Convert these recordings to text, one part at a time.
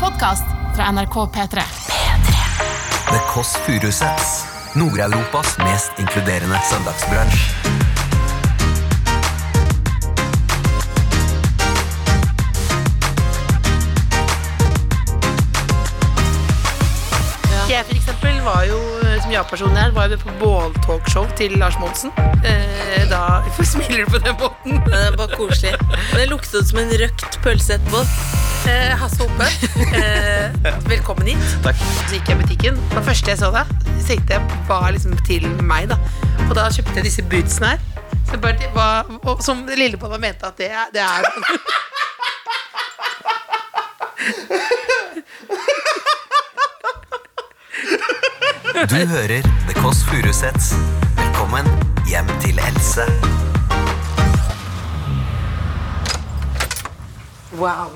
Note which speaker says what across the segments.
Speaker 1: podkast fra NRK P3.
Speaker 2: The Kåss Furuseths. Nord-Europas mest inkluderende søndagsbransj.
Speaker 3: Jeg for eksempel var jo, som ja-person her, var jo på båltalkshow til Lars Monsen. Eh, da Hvorfor smiler du på den måten?
Speaker 4: Men det er bare koselig. Men det luktet som en røkt pølse etterpå.
Speaker 3: Eh, Hasse Hope, eh, velkommen hit.
Speaker 2: Takk.
Speaker 3: Så gikk jeg i butikken. Det første jeg så da, så tenkte jeg var liksom til meg, da. Og da kjøpte jeg disse bootsene her. Så bare, det var, og, som Lillebolla mente at det er, det er
Speaker 2: Du hører The Kåss Furuseths. Velkommen hjem til Else.
Speaker 3: Wow.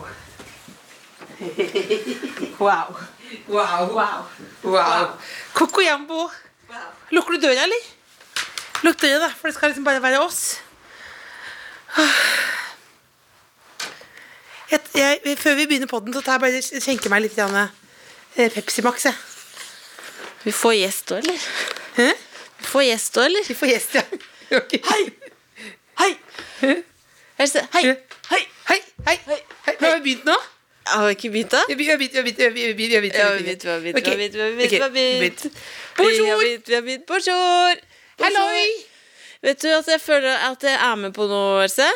Speaker 3: wow. Wow. Wow. wow. Coco Jambo. Lukker du døra, eller? Lukk døra, da, for det skal liksom bare være oss. Jeg, jeg, før vi begynner podden, så tar jeg bare skjenker jeg meg litt grann, eh, Pepsi Max. Jeg.
Speaker 4: Vi får gjest òg, eller?
Speaker 3: Hæ?
Speaker 4: Vi får gjest òg, eller?
Speaker 3: Vi får gjest, ja. Okay. Hei!
Speaker 4: Hei! Else, hei!
Speaker 3: Hei! Hei! Hei!
Speaker 4: Hei.
Speaker 3: Har vi begynt nå?
Speaker 4: Har vi ikke begynt, da?
Speaker 3: Vi har begynt, vi har begynt, vi har begynt, vi har begynt.
Speaker 4: Ja, vi har begynt, vi har begynt, vi har begynt, vi har begynt, vi har
Speaker 3: Ok,
Speaker 4: begynt. Vi har
Speaker 3: Bonjour!
Speaker 4: begynt, vi har begynt. Bonjour!
Speaker 3: Halloi!
Speaker 4: Vet du at jeg føler at jeg er med på noe, Else?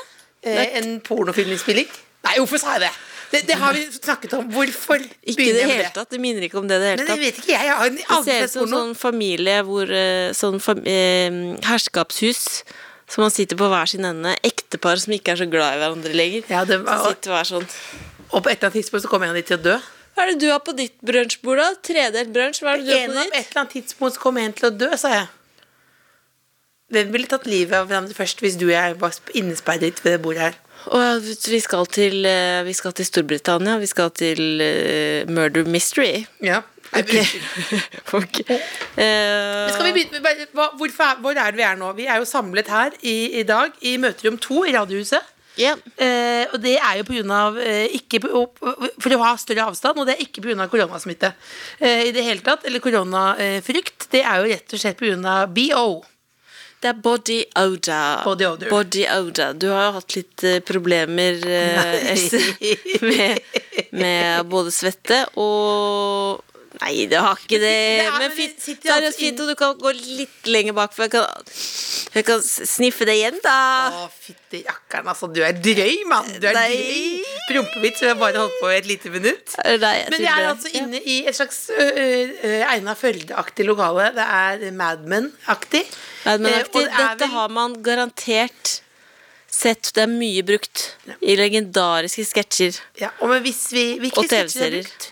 Speaker 3: Eh, en pornofilminnspilling? Nei, hvorfor sa jeg det? det? Det har vi snakket om. Hvorfor
Speaker 4: Ikke i
Speaker 3: begynner
Speaker 4: det
Speaker 3: jeg med
Speaker 4: hele tatt. Det minner ikke om det i det hele
Speaker 3: Men det
Speaker 4: tatt.
Speaker 3: vet ikke jeg. Jeg har en-
Speaker 4: Det
Speaker 3: aldri
Speaker 4: ser ut
Speaker 3: sett
Speaker 4: som
Speaker 3: porno.
Speaker 4: sånn familie hvor eh, Sånn fam eh, herskapshus. Som man sitter på hver sin ende. Ektepar som ikke er så glad i hverandre lenger.
Speaker 3: Ja, det
Speaker 4: Som
Speaker 3: var-
Speaker 4: sitter hver sånn.
Speaker 3: Og på et eller annet tidspunkt så kommer en av de til å dø.
Speaker 4: Hva er det du har på ditt brunsjbord, da? Tredelt brunsj? Hva er det du har
Speaker 3: En
Speaker 4: på
Speaker 3: av et
Speaker 4: ditt?
Speaker 3: eller annet tidspunkt så kommer en til å dø, sa jeg. Hvem ville tatt livet av hverandre først hvis du og jeg var sp- innesperret ved det bordet her?
Speaker 4: Å, ja, eh, vi, skal til, eh, vi skal til Storbritannia. Vi skal til eh, Murder Mystery.
Speaker 3: Ja.
Speaker 4: Ok. Ok. Eh,
Speaker 3: Skal vi begynne, med- hva, hvorfor er, hvor er det vi er nå? Vi er jo samlet her i, i dag i møterom to i Radiohuset.
Speaker 4: ja.
Speaker 3: Eh, og det er jo på grunn av eh, ikke på, opp- For å ha større avstand, og det er ikke pga. koronasmitte. Eh, I det hele tatt, Eller koronafrykt. Det er jo rett og slett pga. BO.
Speaker 4: Det er body odor.
Speaker 3: Body odor.
Speaker 4: Body odor. Du har jo hatt litt eh, problemer eh, Else, med, med både svette og Nei, det har ikke det.
Speaker 3: er-
Speaker 4: men
Speaker 3: men det
Speaker 4: fint,
Speaker 3: sitter jo
Speaker 4: seriøst
Speaker 3: altså inn-
Speaker 4: fint, og du kan gå litt lenger bak, for jeg kan, jeg kan sniffe det igjen, da.
Speaker 3: Å, fytti rakkeren, altså. Du er drøy, mann. Du er
Speaker 4: Nei.
Speaker 3: drøy. Prompevits som jeg bare holdt på i et lite minutt.
Speaker 4: Nei, jeg
Speaker 3: Men vi
Speaker 4: tuller.
Speaker 3: er altså inne i et slags ø, ø, Einar Førde-aktig lokale. Det er Mad Men-aktig.
Speaker 4: Nei, men
Speaker 3: Eh, og
Speaker 4: aktiv,
Speaker 3: det er
Speaker 4: Dette
Speaker 3: vel-
Speaker 4: har man garantert sett. Det er mye brukt i legendariske sketsjer.
Speaker 3: Ja, og men hvis vi, hvilke
Speaker 4: Og
Speaker 3: sketsjer har
Speaker 4: TV-serier.
Speaker 3: brukt?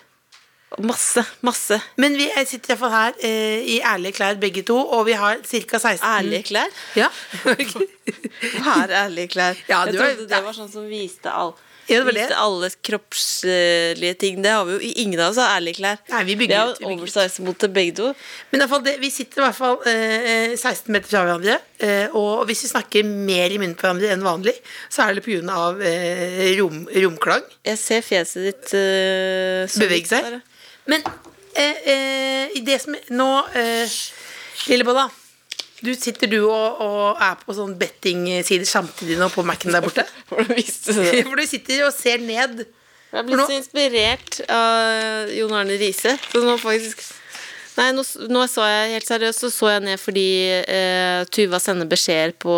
Speaker 4: Og Masse, masse
Speaker 3: Men vi er- sitter i hvert fall her eh, i ærlige klær begge to, og vi har ca. 16
Speaker 4: ærlige klær.
Speaker 3: Ja.
Speaker 4: Hva er ærlige klær?
Speaker 3: Ja,
Speaker 4: jeg
Speaker 3: du har-
Speaker 4: trodde det var sånn som viste, all,
Speaker 3: Ja, det var det.
Speaker 4: viste alle kroppslige ting. Det har vi jo ingen av oss har ærlige klær.
Speaker 3: Nei, vi bygger
Speaker 4: Vi
Speaker 3: ut, vi
Speaker 4: har
Speaker 3: bygger ut.
Speaker 4: oversize-mote begge to.
Speaker 3: Men i hvert fall det, vi sitter i hvert fall eh, 16 meter fra hverandre, eh, og hvis vi snakker mer i munnen på hverandre enn vanlig, så er det pga. Eh, rom, romklang.
Speaker 4: Jeg ser fjeset ditt eh, så
Speaker 3: Bevege
Speaker 4: vidt
Speaker 3: seg.
Speaker 4: der.
Speaker 3: Men eh, eh, i det som Nå, eh, Lillebolla. Du sitter du og, og er på sånn bettingsider samtidig nå på Mac-en der borte.
Speaker 4: Hvordan visste du det?
Speaker 3: For du sitter og ser ned.
Speaker 4: Jeg
Speaker 3: For
Speaker 4: er
Speaker 3: nå-
Speaker 4: blitt så inspirert av Jon Arne Riise. Så nå faktisk Nei, nå, s- nå så jeg helt seriøst, så så jeg ned fordi eh, Tuva sender beskjeder på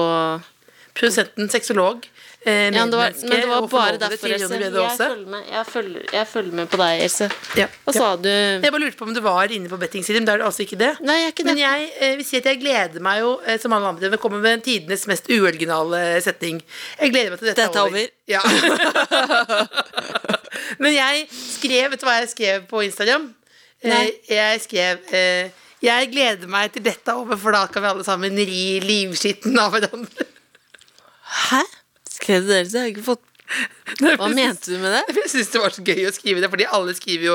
Speaker 3: Produsenten, sexolog, eh,
Speaker 4: ja, men det var,
Speaker 3: medmenneske
Speaker 4: Men det var
Speaker 3: og
Speaker 4: bare
Speaker 3: forlovede
Speaker 4: derfor,
Speaker 3: til
Speaker 4: Else.
Speaker 3: Johnny
Speaker 4: Jeg
Speaker 3: Brede Aase.
Speaker 4: følger, med, jeg, følger, jeg følger med på deg, Else.
Speaker 3: Ja.
Speaker 4: Hva sa du?
Speaker 3: Jeg bare lurte på om du var inne på bettingsider, men det er du altså ikke det.
Speaker 4: Nei, jeg er ikke det.
Speaker 3: Men jeg eh, vil si at jeg gleder meg jo, eh, som alle andre, til å komme med tidenes mest uoriginale eh, setning. Jeg gleder meg til dette,
Speaker 4: Dette er over.
Speaker 3: Ja. men jeg skrev, vet du hva jeg skrev på Instagram? Eh,
Speaker 4: Nei.
Speaker 3: Jeg skrev eh, Jeg gleder meg til dette er over, for da kan vi alle sammen ri livskitten av hverandre.
Speaker 4: Hæ? Skrev du det, Else? Jeg har ikke fått Hva mente du med det?
Speaker 3: Jeg syns det var så gøy å skrive det, fordi alle skriver jo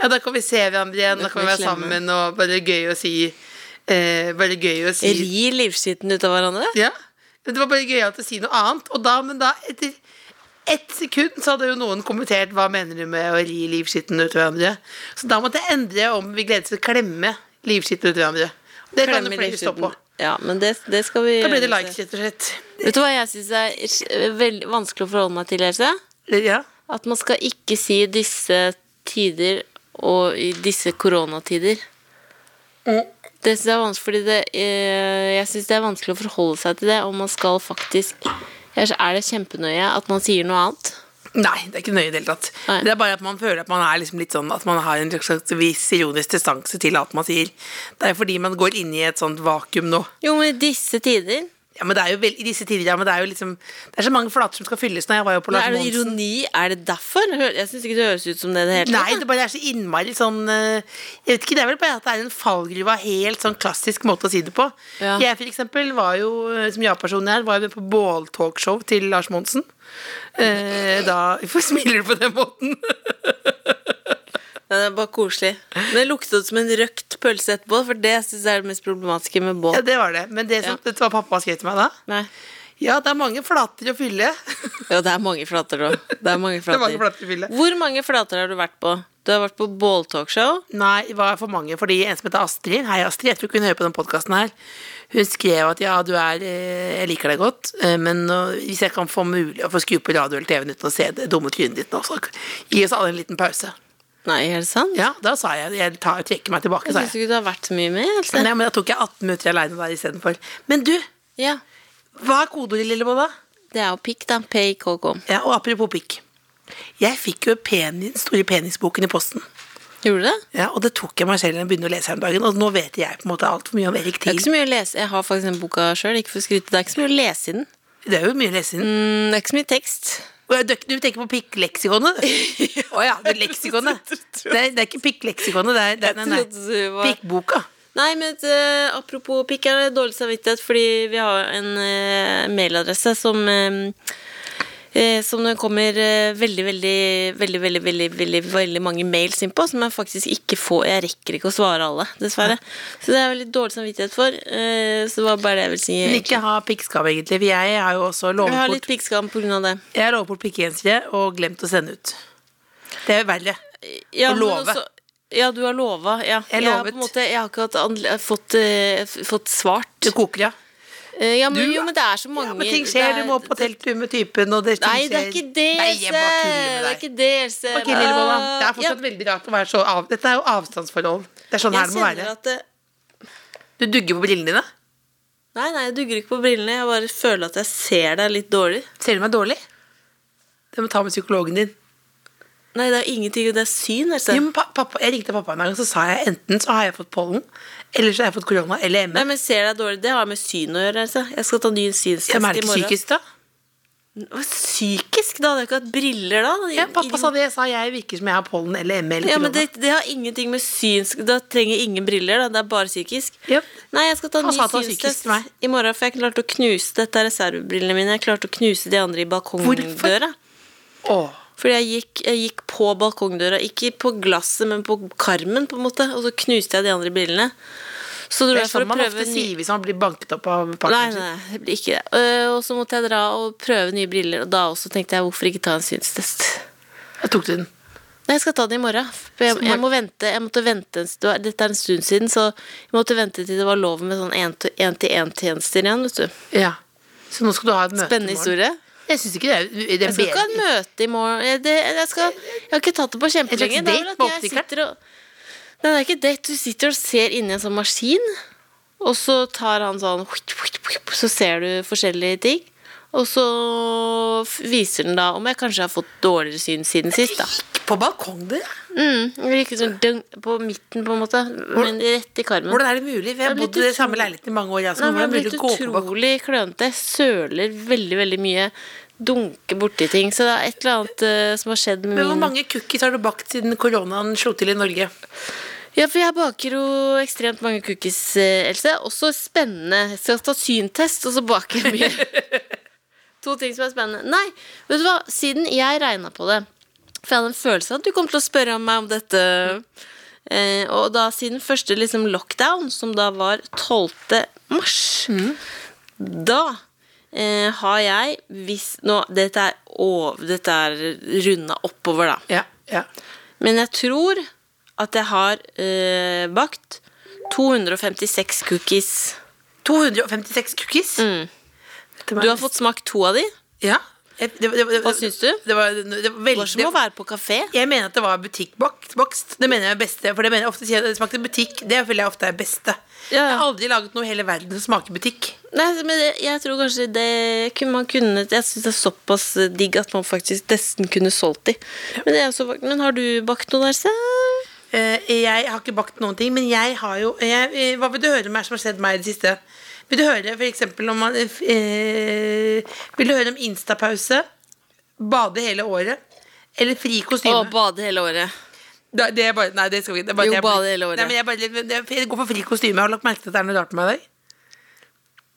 Speaker 3: Ja, da kan vi se hverandre igjen, da kan vi være
Speaker 4: klemme.
Speaker 3: sammen, og bare gøy å si eh, Bare gøy å si
Speaker 4: Ri livskiten ut av hverandre?
Speaker 3: Ja. Men Det var bare gøyalt å si noe annet. Og da, men da etter ett sekund så hadde jo noen kommentert hva mener du med å ri livskitten ut hverandre. Så da måtte jeg endre om vi gledet til å klemme livskitten ut hverandre. Det kan jo
Speaker 4: Klem i
Speaker 3: flere stå på.
Speaker 4: livskiten. Ja, men det, det skal vi
Speaker 3: Da ble det
Speaker 4: gjøre,
Speaker 3: likes,
Speaker 4: Else.
Speaker 3: rett og slett.
Speaker 4: Vet du hva jeg syns er s- veldig vanskelig å forholde meg til, Else?
Speaker 3: Ja.
Speaker 4: At man skal ikke si disse tider og i disse koronatider. Mm. Det synes jeg er vanskelig, fordi det, eh, jeg synes det er vanskelig å forholde seg til det, og man skal faktisk Ellers er det kjempenøye at man sier noe annet.
Speaker 3: Nei, det er ikke nøye i det hele tatt.
Speaker 4: Nei.
Speaker 3: Det er bare at man føler at man er liksom litt sånn At man har en slags viss ironisk distanse til alt man sier. Det er fordi man går inn i et sånt vakuum nå.
Speaker 4: Jo, men i disse tider
Speaker 3: Ja, men det er jo vel, i disse tider, ja, men det er jo liksom Det er så mange flater som skal fylles når jeg var jo på
Speaker 4: men
Speaker 3: Lars
Speaker 4: Er det
Speaker 3: Monsen.
Speaker 4: ironi? Er det derfor? Hø- Jeg syns ikke det høres ut som det i det hele
Speaker 3: Nei, det bare er så innmari sånn eh, Jeg vet ikke, det er vel bare at det er en fallgruve av helt sånn klassisk måte å si det på.
Speaker 4: Ja.
Speaker 3: Jeg for eksempel var jo, eh, som ja-person jeg er, var jo på båltalkshow til Lars Monsen. Eh, da Hvorfor smiler du på den måten?
Speaker 4: Ja, Det er bare koselig. Men det luktet som en røkt pølse etterpå, for det syns jeg er det mest problematiske med båt.
Speaker 3: ja, det var det. Men det som dette var pappa skrev til meg da
Speaker 4: Nei.
Speaker 3: Ja, det er mange flater å fylle.
Speaker 4: Ja, det er mange flater òg. Det er mange
Speaker 3: Det er
Speaker 4: flater.
Speaker 3: mange flater å fylle.
Speaker 4: Hvor mange flater har du vært på? Du har vært på båltalkshow.
Speaker 3: Nei, det var for mange, fordi en som heter Astrid Hei Astrid, jeg tror ikke hun hører på den podcasten her Hun skrev at ja, du er eh, Jeg liker deg godt, eh, men nå- hvis jeg kan få mulig Å få skru på radio eller TV-en uten å se det dumme trynet ditt nå Så gi oss alle en liten pause
Speaker 4: Nei, er det sant?
Speaker 3: Ja, da sa jeg, jeg tar, trekker meg tilbake
Speaker 4: Jeg
Speaker 3: sa
Speaker 4: syns
Speaker 3: jeg.
Speaker 4: ikke du har vært så mye med. Altså.
Speaker 3: Nei, men da tok jeg 18 minutter alene der i stedet for Men du,
Speaker 4: Ja.
Speaker 3: hva er kodeordet, Lillebolla?
Speaker 4: Det er jo pikk, da. PIKK.
Speaker 3: Ja, og apropos pikk Jeg fikk jo penis, store penisboken i posten
Speaker 4: Gjorde du det?
Speaker 3: ja, og det tok jeg meg selv når jeg begynte å lese her om dagen Og nå vet jeg på en måte alt for mye om Erik
Speaker 4: Det er
Speaker 3: Thiel
Speaker 4: ikke så mye å lese. Jeg har faktisk den boka sjøl, ikke for å skryte. Det er ikke så mye å lese i den.
Speaker 3: Det er jo mye å lese inn
Speaker 4: Mm, det er ikke så mye tekst.
Speaker 3: Og jeg døk- Du tenker på pikkleksikonet? Å ja, det er leksikonet. Det er, det er ikke pikkleksikonet, det er, det er, nei,
Speaker 4: Jeg trodde du var-
Speaker 3: nei. pikkboka.
Speaker 4: Nei, men eh, apropos pikk, jeg har dårlig samvittighet fordi vi har en eh, mailadresse som eh, eh, som det kommer eh, veldig, veldig, veldig, veldig, veldig, veldig, veldig mange mails inn på, som jeg faktisk ikke får. Jeg rekker ikke å svare alle, dessverre. Så det er jeg veldig dårlig samvittighet for. eh, så det var bare det jeg ville si.
Speaker 3: Men
Speaker 4: egentlig.
Speaker 3: ikke ha pikkskam, egentlig. For jeg har jo også
Speaker 4: Jeg
Speaker 3: lovet
Speaker 4: har
Speaker 3: bort,
Speaker 4: litt piggskam på grunn av det.
Speaker 3: jeg har lovet bort pikkegensere og glemt å sende ut. Det er jo verre.
Speaker 4: Ja,
Speaker 3: Å
Speaker 4: men
Speaker 3: love.
Speaker 4: også- Ja, du har lova. Ja.
Speaker 3: Jeg
Speaker 4: har
Speaker 3: lovet.
Speaker 4: på en måte, jeg har ikke hatt anle- fått, eh, f- fått svart.
Speaker 3: Det koker, ja.
Speaker 4: Eh, ja, men,
Speaker 3: Du-
Speaker 4: jo, men det er så mange
Speaker 3: ja men ting
Speaker 4: det
Speaker 3: skjer,
Speaker 4: er-
Speaker 3: du må på telttur med typen, og det ting
Speaker 4: Nei, det er
Speaker 3: skjer.
Speaker 4: ikke det,
Speaker 3: Nei,
Speaker 4: Else.
Speaker 3: jeg bare tuller med
Speaker 4: Det er
Speaker 3: deg.
Speaker 4: ikke det, Else.
Speaker 3: Ok, Lillebolla. Det er
Speaker 4: Ah, ja,
Speaker 3: fortsatt veldig rart å være så av... Dette er jo avstandsforhold. Det er sånn her
Speaker 4: Jeg
Speaker 3: det må
Speaker 4: kjenner
Speaker 3: være.
Speaker 4: at det
Speaker 3: Du dugger på brillene dine.
Speaker 4: Nei, nei, jeg dugger ikke på brillene. Jeg bare føler at jeg ser deg litt dårlig.
Speaker 3: Ser du meg dårlig? Det må ta med psykologen din.
Speaker 4: Nei, det er ingenting. Det er syn, altså. Else.
Speaker 3: Jo, men pa- pappa, jeg ringte pappa en dag og så sa jeg enten så har jeg fått pollen, eller så har jeg fått korona eller ME.
Speaker 4: Nei, men ser deg dårlig, Det har med syn å gjøre. Else. Jeg skal ta ny synstest
Speaker 3: Jeg
Speaker 4: i
Speaker 3: merker
Speaker 4: morgen.
Speaker 3: psykisk da.
Speaker 4: Hva, psykisk? Da hadde jeg ikke hatt briller, da.
Speaker 3: Ja, pappa sa det, jeg sa jeg virker som jeg har pollen eller ME eller
Speaker 4: Ja, men
Speaker 3: korona.
Speaker 4: det, det har ingenting med synsk Da trenger jeg ingen briller, da. Det er bare psykisk.
Speaker 3: Jep.
Speaker 4: Nei, jeg skal ta
Speaker 3: Han
Speaker 4: ny
Speaker 3: sa at det var psykisk
Speaker 4: synstest
Speaker 3: til meg.
Speaker 4: i morgen, for jeg klarte å knuse Dette er reservebrillene mine. Jeg klarte å knuse de andre i balkongdøra.
Speaker 3: Åh,
Speaker 4: Fordi jeg gikk, jeg gikk på balkongdøra, ikke på glasset, men på karmen, på en måte. Og så knuste jeg de andre brillene. Så dro
Speaker 3: det
Speaker 4: jeg
Speaker 3: er
Speaker 4: for
Speaker 3: sånn
Speaker 4: å
Speaker 3: man
Speaker 4: prøve
Speaker 3: ofte
Speaker 4: ny-
Speaker 3: sier hvis man blir banket opp av
Speaker 4: Nei,
Speaker 3: partneren sin.
Speaker 4: nei, det blir ikke det. Øh, Og så måtte jeg dra og prøve nye briller, og da også tenkte jeg hvorfor ikke ta en synstest.
Speaker 3: Jeg tok den.
Speaker 4: Nei, jeg skal ta den i morgen. For jeg, jeg, må vente, jeg måtte vente en stund. Dette er en stund siden, så jeg måtte vente til det var lov med sånn én-til-én-tjenester igjen, vet du.
Speaker 3: Ja. Så nå skal du ha et møte
Speaker 4: Spennende
Speaker 3: i morgen.
Speaker 4: historie.
Speaker 3: Jeg synes ikke det er, det
Speaker 4: Jeg
Speaker 3: er
Speaker 4: skal ikke ha et
Speaker 3: bedre.
Speaker 4: møte i morgen. Jeg, det, jeg, skal, jeg har ikke tatt det på
Speaker 3: Et slags
Speaker 4: kjempelenge. Det er vel
Speaker 3: date
Speaker 4: at
Speaker 3: med
Speaker 4: jeg
Speaker 3: optikeren?
Speaker 4: sitter og Nei, det er ikke date. Du sitter og ser inni en sånn maskin, og så tar han sånn Så ser du forskjellige ting. Og så f- viser den da om jeg kanskje har fått dårligere syn siden sist, da.
Speaker 3: På balkongen der?
Speaker 4: Mm, det virker sånn døng, på midten, på en måte. Men rett i karmen.
Speaker 3: Hvordan er det mulig? Vi har
Speaker 4: Det er
Speaker 3: bodd
Speaker 4: litt
Speaker 3: i den samme
Speaker 4: utro-
Speaker 3: leiligheten i mange år. Altså.
Speaker 4: Nei,
Speaker 3: Hvordan
Speaker 4: men
Speaker 3: er det mulig
Speaker 4: blitt
Speaker 3: å gå på balkongen?
Speaker 4: utrolig klønete. Jeg Søler veldig, veldig mye. Dunker borti ting. Så det er et eller annet eh, som har skjedd med
Speaker 3: Men hvor
Speaker 4: min
Speaker 3: mange cookies har du bakt siden koronaen slo til i Norge?
Speaker 4: Ja, for jeg baker jo ekstremt mange cookies, eh, Else. Også spennende. Så jeg skal ta syntest, og så baker jeg mye. to ting som er spennende. Nei, vet du hva? Siden jeg regna på det For jeg hadde en følelse av at du kom til å spørre om meg om dette. Eh, og da siden første liksom, lockdown, som da var 12. mars, da eh, har jeg hvis nå, Dette er, ov- dette er runda oppover, da.
Speaker 3: Ja, ja.
Speaker 4: Men jeg tror at jeg har eh, bakt 256 cookies.
Speaker 3: 256 cookies. Dette var-
Speaker 4: Mm. Du har fått smakt to av de.
Speaker 3: Ja. Jeg- det- det- det-
Speaker 4: Hva syns du?
Speaker 3: Det var, det var
Speaker 4: Det var som å
Speaker 3: veldig
Speaker 4: være på kafé.
Speaker 3: Jeg mener at det var butikkbakst. Det mener jeg er beste. For det mener jeg ofte sier at det smakte butikk. Det føler jeg ofte er beste.
Speaker 4: Ja, ja.
Speaker 3: Jeg har aldri laget noe i hele verden som smaker butikk.
Speaker 4: Nei, men det, jeg tror kanskje det kunne man kunne Jeg syns det er såpass digg at man faktisk nesten kunne solgt de. Men, det er også, men har du bakt noe der, se?
Speaker 3: Eh, jeg har ikke bakt noen ting, men jeg har jo jeg, eh, Hva vil du høre om er som har skjedd meg i det siste? Vil du høre for eksempel om man, eh, f- eh, Vil du høre om instapause? Bade hele året? Eller fri kostyme?
Speaker 4: bade hele året.
Speaker 3: Da- det er bare, nei, det skal vi ikke. Det er bare,
Speaker 4: Jo,
Speaker 3: jeg-
Speaker 4: bade hele året.
Speaker 3: Nei, men jeg, bare, det- jeg går for fri kostyme. Jeg har lagt merke til at det er noe rart med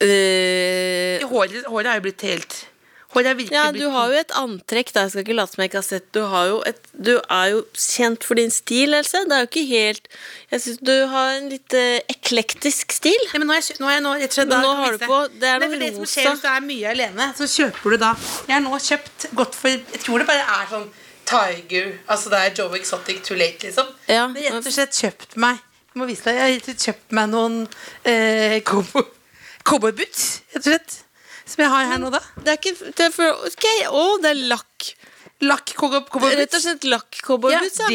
Speaker 3: deg.
Speaker 4: Eh,
Speaker 3: Håret, håret er jo blitt helt Håret er virkelig
Speaker 4: ja,
Speaker 3: blitt
Speaker 4: du har jo et antrekk da. Jeg skal ikke late som jeg ikke har sett. Du, har jo et, du er jo kjent for din stil, Else. Det er jo ikke helt Jeg syns du har en litt eh, eklektisk stil.
Speaker 3: Nei, men nå er jeg, nå er jeg nå, rett og slett,
Speaker 4: Men
Speaker 3: da
Speaker 4: nå
Speaker 3: kan
Speaker 4: har
Speaker 3: jeg
Speaker 4: du
Speaker 3: vise.
Speaker 4: på- det
Speaker 3: Nei,
Speaker 4: er noe
Speaker 3: for Det som
Speaker 4: rosa.
Speaker 3: skjer hvis du er mye alene, så kjøper du da Jeg har nå kjøpt gått for Jeg tror det bare er sånn Tiger Altså det er Joe Exotic Too Late, liksom.
Speaker 4: Ja.
Speaker 3: Men rett og slett kjøpt meg Jeg må vise deg, jeg har rett og slett kjøpt meg noen eh, cowboy- cowboyboots, rett og slett. Som jeg har her nå, da.
Speaker 4: Det er ikke det er for, Ok, å, det er lakk.
Speaker 3: Lakk cowboy-
Speaker 4: Rett og
Speaker 3: cowboyboots.
Speaker 4: slett lakk cowboyboots, ja.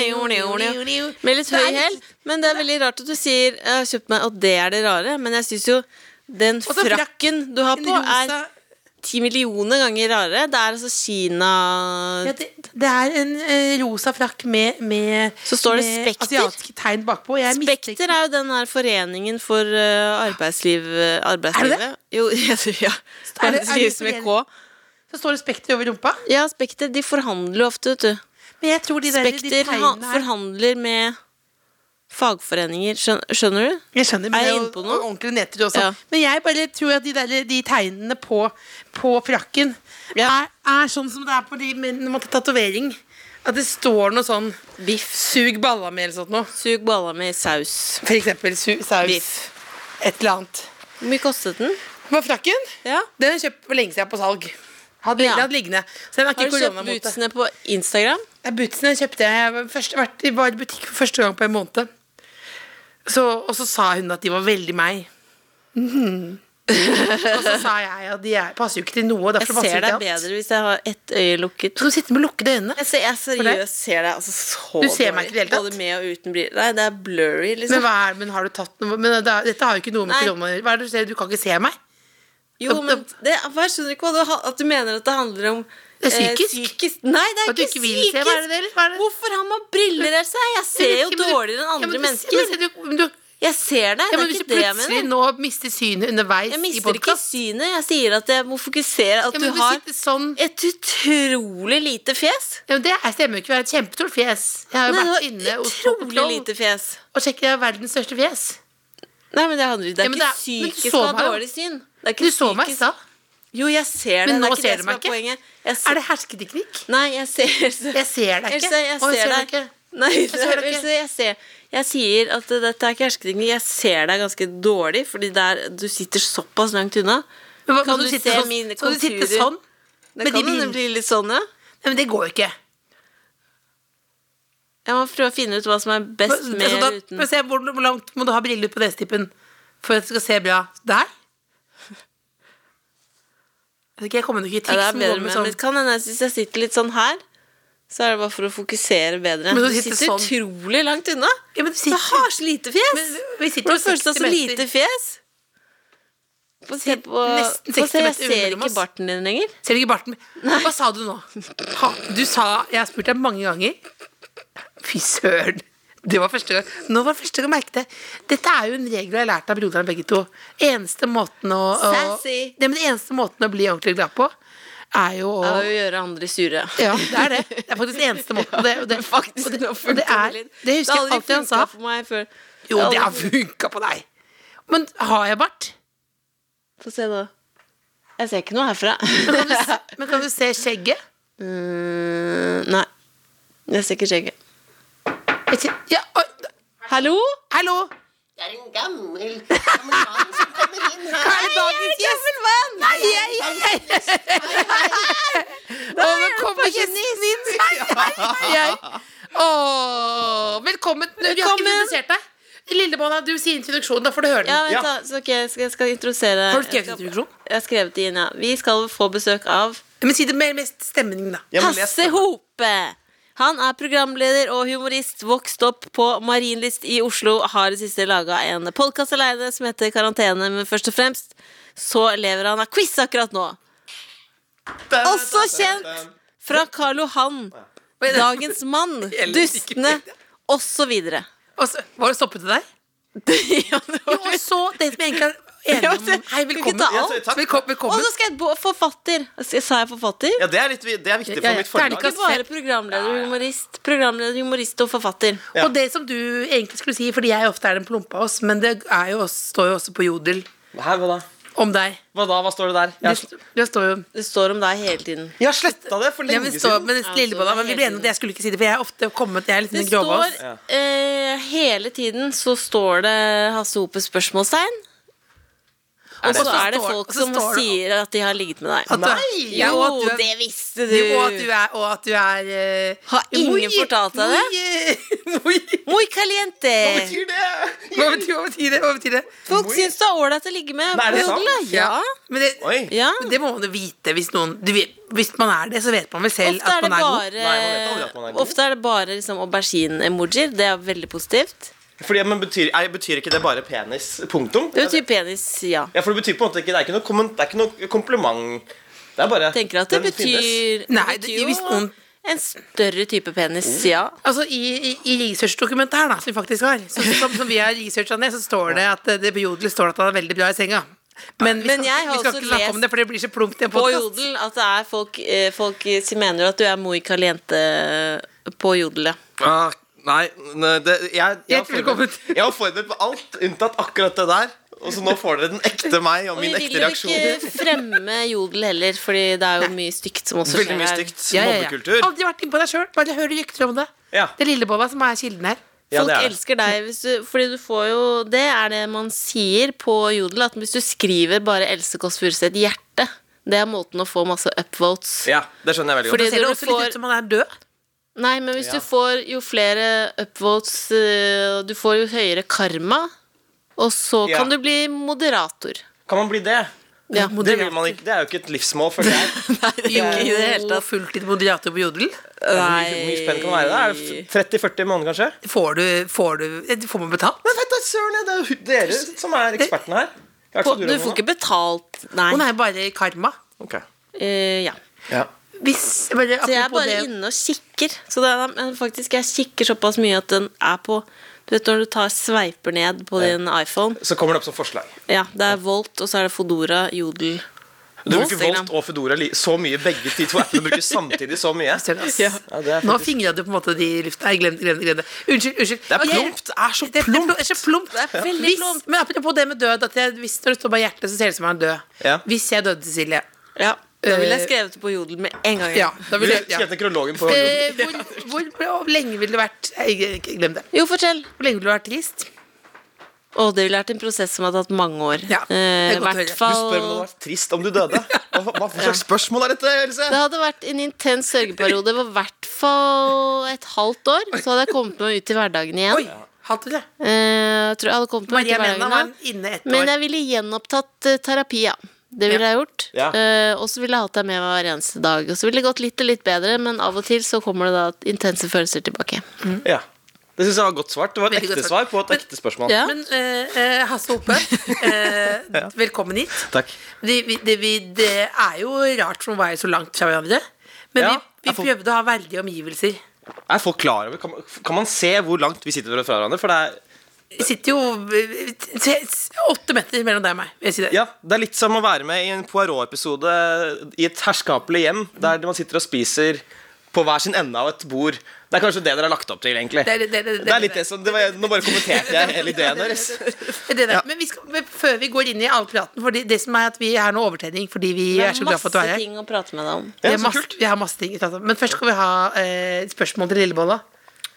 Speaker 4: Med litt høy hæl. Men det er veldig rart at du sier Jeg har kjøpt meg, og det er det rare. Men jeg syns jo den
Speaker 3: så frakk-
Speaker 4: frakken du har på, er ti millioner ganger rarere. Det er altså Kina
Speaker 3: Ja, det, det er en eh, rosa frakk med, med
Speaker 4: Så står det
Speaker 3: med
Speaker 4: Spekter.
Speaker 3: asiatiske tegn bakpå. Jeg
Speaker 4: Spekter
Speaker 3: mistenker-
Speaker 4: er jo den her foreningen for eh, arbeidsliv, eh, arbeidslivet.
Speaker 3: det?
Speaker 4: Jo, jeg tror ja.
Speaker 3: Er det-
Speaker 4: Det
Speaker 3: er det
Speaker 4: skrives med K.
Speaker 3: forening? Så står det Spekter over rumpa.
Speaker 4: Ja, Spekter de forhandler jo ofte, vet du.
Speaker 3: Men jeg tror de, der, de
Speaker 4: Spekter ha-
Speaker 3: tegnene her
Speaker 4: forhandler med fagforeninger. Skjøn- Skjønner du?
Speaker 3: Jeg skjønner,
Speaker 4: Er
Speaker 3: men
Speaker 4: jeg
Speaker 3: det jo-
Speaker 4: inne på noe?
Speaker 3: og ordentlig nedtur også.
Speaker 4: Ja.
Speaker 3: Men jeg bare tror at de, der, de tegnene på, på frakken
Speaker 4: Ja.
Speaker 3: er, er sånn som det er på de men når man tar tatovering. At det står noe sånn
Speaker 4: Biff.
Speaker 3: Sug balla mi, eller sånt noe.
Speaker 4: Sug balla med saus.
Speaker 3: For eksempel su saus.
Speaker 4: Biff.
Speaker 3: Et eller annet.
Speaker 4: Hvor mye kostet den?
Speaker 3: På frakken?
Speaker 4: Ja.
Speaker 3: Den har jeg kjøpt for lenge siden på salg. Hadde,
Speaker 4: Ja.
Speaker 3: den hadde liggende. Så den er
Speaker 4: Har du
Speaker 3: ikke
Speaker 4: kjøpt
Speaker 3: koronamote.
Speaker 4: bootsene på Instagram?
Speaker 3: Ja, Bootsene kjøpte jeg. Jeg var først- vært i- var i butikk for første gang på en måned. Så, og så sa hun at de var veldig meg. og så sa jeg at de er, passer jo ikke til noe.
Speaker 4: Jeg
Speaker 3: Derfor passer
Speaker 4: ser
Speaker 3: ikke
Speaker 4: deg
Speaker 3: alt.
Speaker 4: bedre hvis jeg har ett øye lukket.
Speaker 3: Du skal sitte med lukkede øyne.
Speaker 4: Jeg ser, jeg
Speaker 3: deg?
Speaker 4: seriøst ser deg altså så
Speaker 3: Du ser meg
Speaker 4: dårlig.
Speaker 3: ikke i det hele tatt?
Speaker 4: Både med og uten briller. Nei, det er blurry,
Speaker 3: Men,
Speaker 4: liksom.
Speaker 3: hva er, men har du tatt noe men det, er- Dette har jo ikke noe med
Speaker 4: Nei.
Speaker 3: korona å gjøre. Hva er det Du ser? Du kan ikke se meg.
Speaker 4: jo, men det, jeg skjønner ikke hva du, ha- at du mener at det handler om
Speaker 3: Det er
Speaker 4: eh,
Speaker 3: psykisk.
Speaker 4: psykisk. Nei, det er
Speaker 3: At du
Speaker 4: ikke,
Speaker 3: ikke vil se, hva er det det- hva er det?
Speaker 4: Hvorfor har man briller der? seg? Jeg ser jo
Speaker 3: Men du-
Speaker 4: dårligere enn
Speaker 3: Ja, men
Speaker 4: andre
Speaker 3: du-
Speaker 4: mennesker.
Speaker 3: men du- men du-
Speaker 4: Jeg ser deg,
Speaker 3: Ja,
Speaker 4: det
Speaker 3: men
Speaker 4: er
Speaker 3: hvis du
Speaker 4: ikke det jeg
Speaker 3: plutselig
Speaker 4: mener.
Speaker 3: nå mister synet underveis
Speaker 4: Jeg
Speaker 3: i
Speaker 4: mister ikke
Speaker 3: podkast
Speaker 4: synet. Jeg sier at jeg må fokusere at
Speaker 3: ja,
Speaker 4: du
Speaker 3: men du
Speaker 4: har
Speaker 3: sitter sånn
Speaker 4: et utrolig lite fjes.
Speaker 3: Ja, men Det er- stemmer jo ikke. Det er et kjempestort fjes. Jeg har jo
Speaker 4: Nei,
Speaker 3: vært
Speaker 4: det
Speaker 3: inne
Speaker 4: var
Speaker 3: hos Pop
Speaker 4: utrolig
Speaker 3: Patrol
Speaker 4: lite fjes.
Speaker 3: og sjekket jeg har verdens største fjes.
Speaker 4: Nei, men det handler Det
Speaker 3: Ja,
Speaker 4: er
Speaker 3: men det er- men
Speaker 4: ikke
Speaker 3: du
Speaker 4: psykisk
Speaker 3: så
Speaker 4: å ha
Speaker 3: meg jo.
Speaker 4: dårlig syn. Det er ikke
Speaker 3: Du så meg i
Speaker 4: psykisk-
Speaker 3: stad.
Speaker 4: Jo, jeg ser
Speaker 3: Men
Speaker 4: deg. det
Speaker 3: nå
Speaker 4: er ikke
Speaker 3: ser
Speaker 4: det
Speaker 3: du
Speaker 4: som
Speaker 3: meg
Speaker 4: er
Speaker 3: ikke.
Speaker 4: poenget. Jeg ser,
Speaker 3: Er det hersketeknikk?
Speaker 4: Nei, jeg ser
Speaker 3: Jeg ser deg ikke.
Speaker 4: Else,
Speaker 3: Å, jeg
Speaker 4: jeg ser
Speaker 3: ser deg
Speaker 4: deg
Speaker 3: ikke.
Speaker 4: Nei, jeg
Speaker 3: ser deg ikke.
Speaker 4: Else, jeg ser Jeg sier at uh, dette er ikke hersketeknikk. Jeg ser deg ganske dårlig, fordi der, du sitter såpass langt unna.
Speaker 3: Men hva-
Speaker 4: Kan
Speaker 3: skal
Speaker 4: du
Speaker 3: sitte
Speaker 4: se
Speaker 3: sånn-
Speaker 4: mine
Speaker 3: Skal du sitte
Speaker 4: konturer?
Speaker 3: sånn?
Speaker 4: Det
Speaker 3: Med de
Speaker 4: kan hende
Speaker 3: brillene.
Speaker 4: bli litt sånn, ja.
Speaker 3: Nei, men det går jo ikke.
Speaker 4: Jeg må prøve å finne ut hva som er
Speaker 3: Men-
Speaker 4: best med
Speaker 3: altså, da-
Speaker 4: eller uten.
Speaker 3: men se, hvor, hvor langt må du ha briller ut på nesetippen for at det skal se bra? Der? Jeg vet ikke, jeg kommer nok ikke i
Speaker 4: Ja,
Speaker 3: triks
Speaker 4: det
Speaker 3: ja,
Speaker 4: er bedre
Speaker 3: med,
Speaker 4: med,
Speaker 3: sånn.
Speaker 4: men kan hende hvis jeg sitter litt sånn her, så er det bare for å fokusere bedre.
Speaker 3: Men
Speaker 4: Du
Speaker 3: du
Speaker 4: sitter
Speaker 3: sitter sånn.
Speaker 4: utrolig langt unna.
Speaker 3: Ja, men du
Speaker 4: Du
Speaker 3: sitter,
Speaker 4: har så lite fjes!
Speaker 3: men vi sitter jo
Speaker 4: Hvordan føles det å
Speaker 3: 60
Speaker 4: ha så
Speaker 3: meter.
Speaker 4: lite fjes? Få se på
Speaker 3: nesten
Speaker 4: få
Speaker 3: 60
Speaker 4: se, Jeg
Speaker 3: meter
Speaker 4: ser
Speaker 3: mellom
Speaker 4: ikke
Speaker 3: oss.
Speaker 4: barten din lenger.
Speaker 3: Ser du ikke barten min? Hva sa du nå? Ha, du sa Jeg har spurt deg mange ganger. Fy søren. Det var første gang. Nå var det første gang jeg merket det. Dette er jo en regel jeg har lært av broderne begge to. Eneste måten å, å
Speaker 4: Sassy.
Speaker 3: Nei, men den eneste måten å bli ordentlig glad på, er jo å
Speaker 4: Av å gjøre andre sure.
Speaker 3: ja, det er det. Det er faktisk den eneste måten. Det, og det,
Speaker 4: Faktisk,
Speaker 3: og det,
Speaker 4: nå
Speaker 3: og det,
Speaker 4: fulgte
Speaker 3: er,
Speaker 4: det litt.
Speaker 3: det husker
Speaker 4: har
Speaker 3: jeg
Speaker 4: aldri
Speaker 3: alltid han sa.
Speaker 4: funket for meg før.
Speaker 3: Jo, det har
Speaker 4: aldri-
Speaker 3: funka på deg. Men har jeg bart?
Speaker 4: Få se nå. Jeg ser ikke noe herfra.
Speaker 3: Men kan du, se- men kan du se skjegget?
Speaker 4: Mm, nei. Jeg ser ikke skjegget.
Speaker 3: Jeg kjen- Ja, oi,
Speaker 4: Hallo?
Speaker 3: hallo!
Speaker 5: Det er en gammel, gammel mann som kom kommer inn her.
Speaker 3: Hva er dagens gjest? Nei, jeg, jeg, jeg. Å, nå kommer gjesten inn. Nei, nei, nei. Å, velkommen. Du har ikke
Speaker 4: Velkommen.
Speaker 3: introdusert deg. Lillebonna, du sier introduksjonen, da får du høre den.
Speaker 4: Ja, vent
Speaker 5: Ja.
Speaker 4: da, så, ok, jeg, skal, jeg skal introdusere
Speaker 3: Har du skrevet
Speaker 4: jeg skal-
Speaker 3: introduksjon?
Speaker 4: Jeg har skrevet det inn, ja. Vi skal få besøk av
Speaker 3: Men si det med mest stemning, da.
Speaker 5: Ja, men les
Speaker 4: Hasse
Speaker 5: den.
Speaker 4: Hope. Han er programleder og humorist, vokst opp på Marienlyst i Oslo. Har i det siste laga en podkast aleine som heter Karantene, men først og fremst så lever han av quiz akkurat nå. Også kjent fra Karl Johan, Dagens Mann, Dustene osv.
Speaker 3: Og så, var det stoppet til deg?
Speaker 4: Ja, det
Speaker 3: Jo,
Speaker 4: var-
Speaker 3: og så det som egentlig er
Speaker 4: Ja,
Speaker 3: enige
Speaker 4: det-
Speaker 3: om Hei,
Speaker 4: vi kan ikke
Speaker 3: velkommen.
Speaker 4: ta
Speaker 5: Ja, så, takk.
Speaker 3: Velko-
Speaker 4: Og
Speaker 3: Velkommen.
Speaker 4: så skal jeg bo- forfatter. Sa jeg forfatter?
Speaker 5: Ja, det er, litt, det er viktig for
Speaker 3: Ja, ja.
Speaker 5: mitt forlag.
Speaker 3: Terningkast
Speaker 4: Ikke bare programleder, humorist. Programleder, humorist og forfatter.
Speaker 5: Ja.
Speaker 3: Og det som du egentlig skulle si, fordi jeg ofte er den plumpa oss, men det er jo også, står jo også på Jodel
Speaker 5: Hæ, hva da?
Speaker 3: om deg.
Speaker 5: Hva da? Hva står det der? Jeg har sl-
Speaker 3: Det, det står jo
Speaker 4: Det står om deg hele tiden.
Speaker 5: Jeg har sletta det for
Speaker 3: ja,
Speaker 5: lenge
Speaker 3: men, det står,
Speaker 5: siden.
Speaker 3: men, det
Speaker 4: Ja,
Speaker 3: Lillebonna,
Speaker 4: så det er
Speaker 3: men vi
Speaker 4: helt
Speaker 3: ble enige om at jeg skulle ikke si det, for jeg er ofte kommet Jeg er litt
Speaker 4: Det
Speaker 3: en
Speaker 4: står
Speaker 3: gråvass.
Speaker 5: Ja.
Speaker 4: eh, Hele tiden så står det Hasse Hope spørsmålstegn. Og
Speaker 3: så
Speaker 4: så er det
Speaker 3: står-
Speaker 4: folk
Speaker 3: og så
Speaker 4: som
Speaker 3: står det-
Speaker 4: sier at de har ligget med deg.
Speaker 3: At du er-
Speaker 5: Nei!
Speaker 3: Ja, og at du
Speaker 4: Jo,
Speaker 3: er-
Speaker 4: det visste du!
Speaker 3: Jo, Og at du er, og at du er eh,
Speaker 4: Har ingen
Speaker 3: muy-
Speaker 4: fortalt deg det?
Speaker 3: muy- muy-
Speaker 4: Muy caliente!
Speaker 5: Hva betyr det?
Speaker 3: Hva betyr, hva betyr det? Hva betyr det?
Speaker 4: Folk syns du er ålreit å ligge med.
Speaker 5: Nei, er det
Speaker 4: Jodel,
Speaker 5: sant?
Speaker 4: Ja.
Speaker 3: Men det,
Speaker 5: Oi.
Speaker 4: ja.
Speaker 3: Men Det må man jo vite hvis noen du vet, Hvis man er det, så vet man vel selv
Speaker 4: Ofte
Speaker 3: at
Speaker 4: er det
Speaker 3: man er god.
Speaker 4: bare,
Speaker 5: Nei, man vet aldri at man er god.
Speaker 4: ofte er det bare liksom aubergine-emojier. Det er veldig positivt.
Speaker 5: Fordi, men betyr, er, betyr ikke det bare penis? Punktum?
Speaker 4: Det betyr penis, ja.
Speaker 5: Ja, for det betyr på en måte ikke Det er ikke noe, komment, det er ikke noe kompliment. Det er bare
Speaker 4: Tenker at det
Speaker 5: den finnes.
Speaker 4: betyr,
Speaker 3: Nei,
Speaker 4: det
Speaker 3: det-
Speaker 4: betyr
Speaker 3: hvis
Speaker 4: jo
Speaker 3: noen-
Speaker 4: en større type penis, ja.
Speaker 3: Altså I, i, i researchdokumentet her, da, som vi faktisk har, så, som, som vi har researcha ned, så står det at eh, det på Jodel står det at han er veldig bra i senga. Men vi skal,
Speaker 4: Men jeg har
Speaker 3: vi skal
Speaker 4: også
Speaker 3: ikke snakke
Speaker 4: lest
Speaker 3: om det, for det blir så plumpt i en
Speaker 4: På
Speaker 3: podkast.
Speaker 4: Jodel at det er folk, eh, folk eh, som mener at du er Moi Caliente eh, på Jodel, ja.
Speaker 5: Ah, nei, nei det, jeg, jeg, var
Speaker 3: Hjertelig velkommen.
Speaker 5: forberedt- jeg var forberedt på alt unntatt akkurat det der. Og så nå får dere den ekte meg og
Speaker 4: Og vi
Speaker 5: min
Speaker 4: vil
Speaker 5: ekte
Speaker 4: jo
Speaker 5: reaksjon.
Speaker 4: ikke fremme Jodel heller, fordi det er jo mye stygt som også
Speaker 5: Veldig mye
Speaker 4: her.
Speaker 5: stygt. Mobbekultur.
Speaker 3: Aldri vært inne på deg sjøl, bare hører rykter om det.
Speaker 5: Ja.
Speaker 3: Det er Lillebolla som er kilden her.
Speaker 5: Ja,
Speaker 4: Folk
Speaker 5: det er det.
Speaker 4: elsker deg hvis du, Fordi du får jo Det er det man sier på Jodel, at hvis du skriver bare Else Kåss Furuseth hjerte, det er måten å få masse upvotes.
Speaker 5: Ja, det skjønner jeg veldig godt.
Speaker 4: Fordi
Speaker 3: Det ser det
Speaker 4: når du
Speaker 3: også litt
Speaker 4: får-
Speaker 3: ut som han er død.
Speaker 4: Nei, men hvis
Speaker 5: Ja.
Speaker 4: du får jo flere upvotes, eh, og du får jo høyere karma, og så
Speaker 5: Ja.
Speaker 4: kan du bli moderator.
Speaker 5: Kan man bli det?
Speaker 4: Ja,
Speaker 5: Det, vil man ikke, det er jo ikke et livsmål, føler jeg.
Speaker 4: Nei, det er ikke i det hele tatt.
Speaker 3: Fulltid moderator på Jodel.
Speaker 5: Hvor mye hvor mye spenn kan det være? Er det f- 30-40 i måneden, kanskje?
Speaker 3: Får du, får du eh, Får man betalt?
Speaker 5: Men vet du, søren, det er jo dere som er ekspertene her. Jeg har
Speaker 4: På-
Speaker 5: ikke
Speaker 4: Du får ikke betalt, nei.
Speaker 3: Å nei, bare karma.
Speaker 5: Ok.
Speaker 4: Eh, ja.
Speaker 5: Ja.
Speaker 3: Hvis bare,
Speaker 4: Så jeg er
Speaker 3: apropos
Speaker 4: bare
Speaker 3: det-
Speaker 4: inne og kikker. Så det er, men faktisk, jeg kikker såpass mye at den er på Du vet når du tar sveiper ned på din iPhone?
Speaker 5: Så kommer det opp som forslag.
Speaker 4: Ja, det er Volt, og så er det Fodora, Jodel.
Speaker 5: Du bruker
Speaker 4: Instagram.
Speaker 5: Volt og Foodora li- så mye, begge de to appene bruker samtidig så mye.
Speaker 3: Ser altså. du, ass.
Speaker 5: Ja, det er
Speaker 3: Nå
Speaker 5: faktisk-
Speaker 3: fingra du på en måte de i lufta. Nei, glem det, glem det. glem det. Unnskyld. unnskyld
Speaker 5: Det er
Speaker 3: Ok.
Speaker 5: plumpt. Det er så
Speaker 3: Det er pl-
Speaker 5: plumpt.
Speaker 3: Det er så plumpt.
Speaker 4: veldig
Speaker 3: Hvis-
Speaker 4: plumpt.
Speaker 3: Men apropos det med død, at jeg, hvis når det står bare hjertet, så ser det ut som han er død.
Speaker 5: Ja.
Speaker 3: Hvis jeg døde, Cecilie
Speaker 4: Ja, da ville jeg
Speaker 3: Eh,
Speaker 4: skrevet det på Jodel med en gang.
Speaker 3: Ja, da
Speaker 5: Du
Speaker 3: ville jeg ja.
Speaker 5: kjente krologen på
Speaker 3: Eh, hvor, hvor, hvor lenge ville du vært Nei, ikke- ikke Glem det.
Speaker 4: Jo, fortell.
Speaker 3: Hvor lenge ville du vært trist?
Speaker 4: Og det ville vært en prosess som har tatt mange år.
Speaker 3: Ja, det er
Speaker 4: Eh, I
Speaker 3: godt å
Speaker 4: hvert
Speaker 3: høre.
Speaker 5: Du
Speaker 4: fall
Speaker 5: spør om det hadde vært trist om du døde. Hva, hva slags spørsmål er dette,
Speaker 4: Det
Speaker 5: Else?
Speaker 4: hadde vært en intens sørgeperiode på hvert fall et halvt år. Så hadde jeg kommet meg ut i hverdagen igjen.
Speaker 3: Oi, hatt du det?
Speaker 4: Eh, jeg tror jeg hadde kommet meg ut
Speaker 3: Maria
Speaker 4: i
Speaker 3: Mena
Speaker 4: hverdagen
Speaker 3: var
Speaker 4: igjen.
Speaker 3: inne ett
Speaker 4: Men
Speaker 3: år.
Speaker 4: jeg ville gjenopptatt eh, terapi, ja. Det ville jeg gjort.
Speaker 5: Ja.
Speaker 4: Eh, og så ville jeg hatt deg med meg hver eneste dag. Og så ville det gått litt og litt bedre, men av og til så kommer det da intense følelser tilbake.
Speaker 5: Ja. Det syns jeg var godt svart. Det var et
Speaker 3: Veldig godt
Speaker 5: ekte svar
Speaker 3: svart.
Speaker 5: på et
Speaker 3: Men-
Speaker 5: ekte spørsmål.
Speaker 4: Ja.
Speaker 3: Men eh, eh, Hasse Hope, eh, velkommen hit.
Speaker 5: Takk.
Speaker 3: Det, vi, det, vi, det er jo rart for å være så langt fra hverandre. Men
Speaker 5: Ja,
Speaker 3: vi, vi
Speaker 5: jeg får-
Speaker 3: prøvde å ha verdige omgivelser.
Speaker 5: Er folk klar over Kan man, kan man se hvor langt vi sitter fra hverandre? For det er
Speaker 3: Vi sitter jo eh, se- s- åtte meter mellom deg og meg. Vil jeg si det.
Speaker 5: Ja, det er litt som å være med i en Poirot-episode i et herskapelig hjem, der man sitter og spiser på hver sin ende av et bord. Det er kanskje det dere har lagt opp til, egentlig.
Speaker 3: Det er det- det er det-
Speaker 5: Det er litt det som det var, Nå bare kommenterte jeg hele ideen deres.
Speaker 3: Det der. Men, vi skal, men før vi går inn i all praten For det, det som er at vi er noe overtenning fordi vi
Speaker 4: Det
Speaker 3: er så glad for at du er her.
Speaker 4: ting å prate med deg om.
Speaker 3: Vi
Speaker 5: Ja,
Speaker 3: har
Speaker 5: så
Speaker 3: masse,
Speaker 5: kult.
Speaker 3: vi har masse ting å prate om. Men først skal vi ha eh, spørsmål til Lillebolla.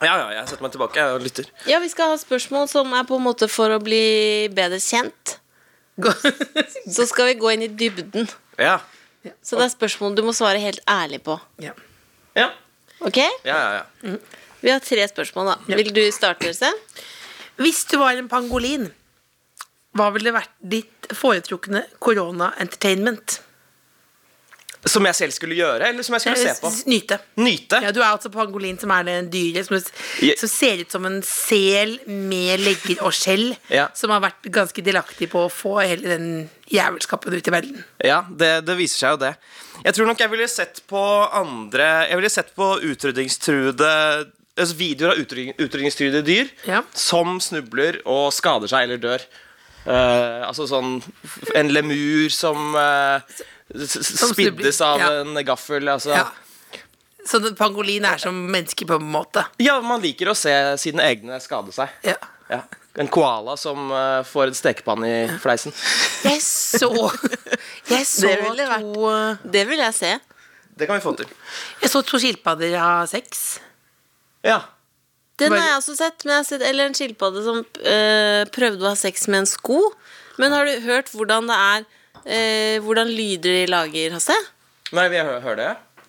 Speaker 5: Ja, ja, jeg setter meg tilbake jeg lytter.
Speaker 4: Ja, vi skal ha spørsmål som er på en måte for å bli bedre kjent. Så skal vi gå inn i dybden.
Speaker 5: Ja.
Speaker 4: Så det er spørsmål du må svare helt ærlig på.
Speaker 3: ja.
Speaker 5: Ja,
Speaker 4: Ok?
Speaker 5: ja, ja. ja.
Speaker 4: Vi har tre spørsmål, da. Vil du starte, Else?
Speaker 3: Hvis du var en pangolin, hva ville vært ditt foretrukne korona-entertainment?
Speaker 5: Som jeg selv skulle gjøre, eller som jeg skulle se på?
Speaker 3: Nyte.
Speaker 5: Nyte.
Speaker 3: Ja, du er altså pangolin, som er det dyret som,
Speaker 5: Ja.
Speaker 3: som ser ut som en sel med legger og skjell,
Speaker 5: Ja.
Speaker 3: som har vært ganske delaktig på å få hele den jævelskapen ut i verden.
Speaker 5: Ja, det, det viser seg jo det. Jeg tror nok jeg ville sett på andre Jeg ville sett på utryddingstruede altså videoer av utrydning- utrydningstruede dyr
Speaker 3: Ja.
Speaker 5: som snubler og skader seg eller dør. Eh, altså sånn f- En lemur som, eh, s- s-
Speaker 3: Som snubler,
Speaker 5: spiddes av
Speaker 3: ja.
Speaker 5: en gaffel. Altså.
Speaker 3: Ja.
Speaker 5: Ja.
Speaker 3: Så den pangolin er som menneske på en måte.
Speaker 5: man liker å se sine egne skade seg.
Speaker 3: Ja.
Speaker 5: Ja. En koala som eh, får en stekepanne i fleisen.
Speaker 3: Jeg så, jeg så
Speaker 4: Det ville vært-
Speaker 3: to eh,
Speaker 4: Det vil jeg se.
Speaker 5: Det kan vi få til.
Speaker 3: Jeg så to skilpadder ha sex.
Speaker 5: Ja.
Speaker 4: Den
Speaker 3: Bare-
Speaker 4: har jeg også sett. Men jeg har sett eller en skilpadde som eh, prøvde å ha sex med en sko. Men har du hørt hvordan det er eh, Hvordan lyder de lager, Hasse?
Speaker 5: Nei, vi hører høre det?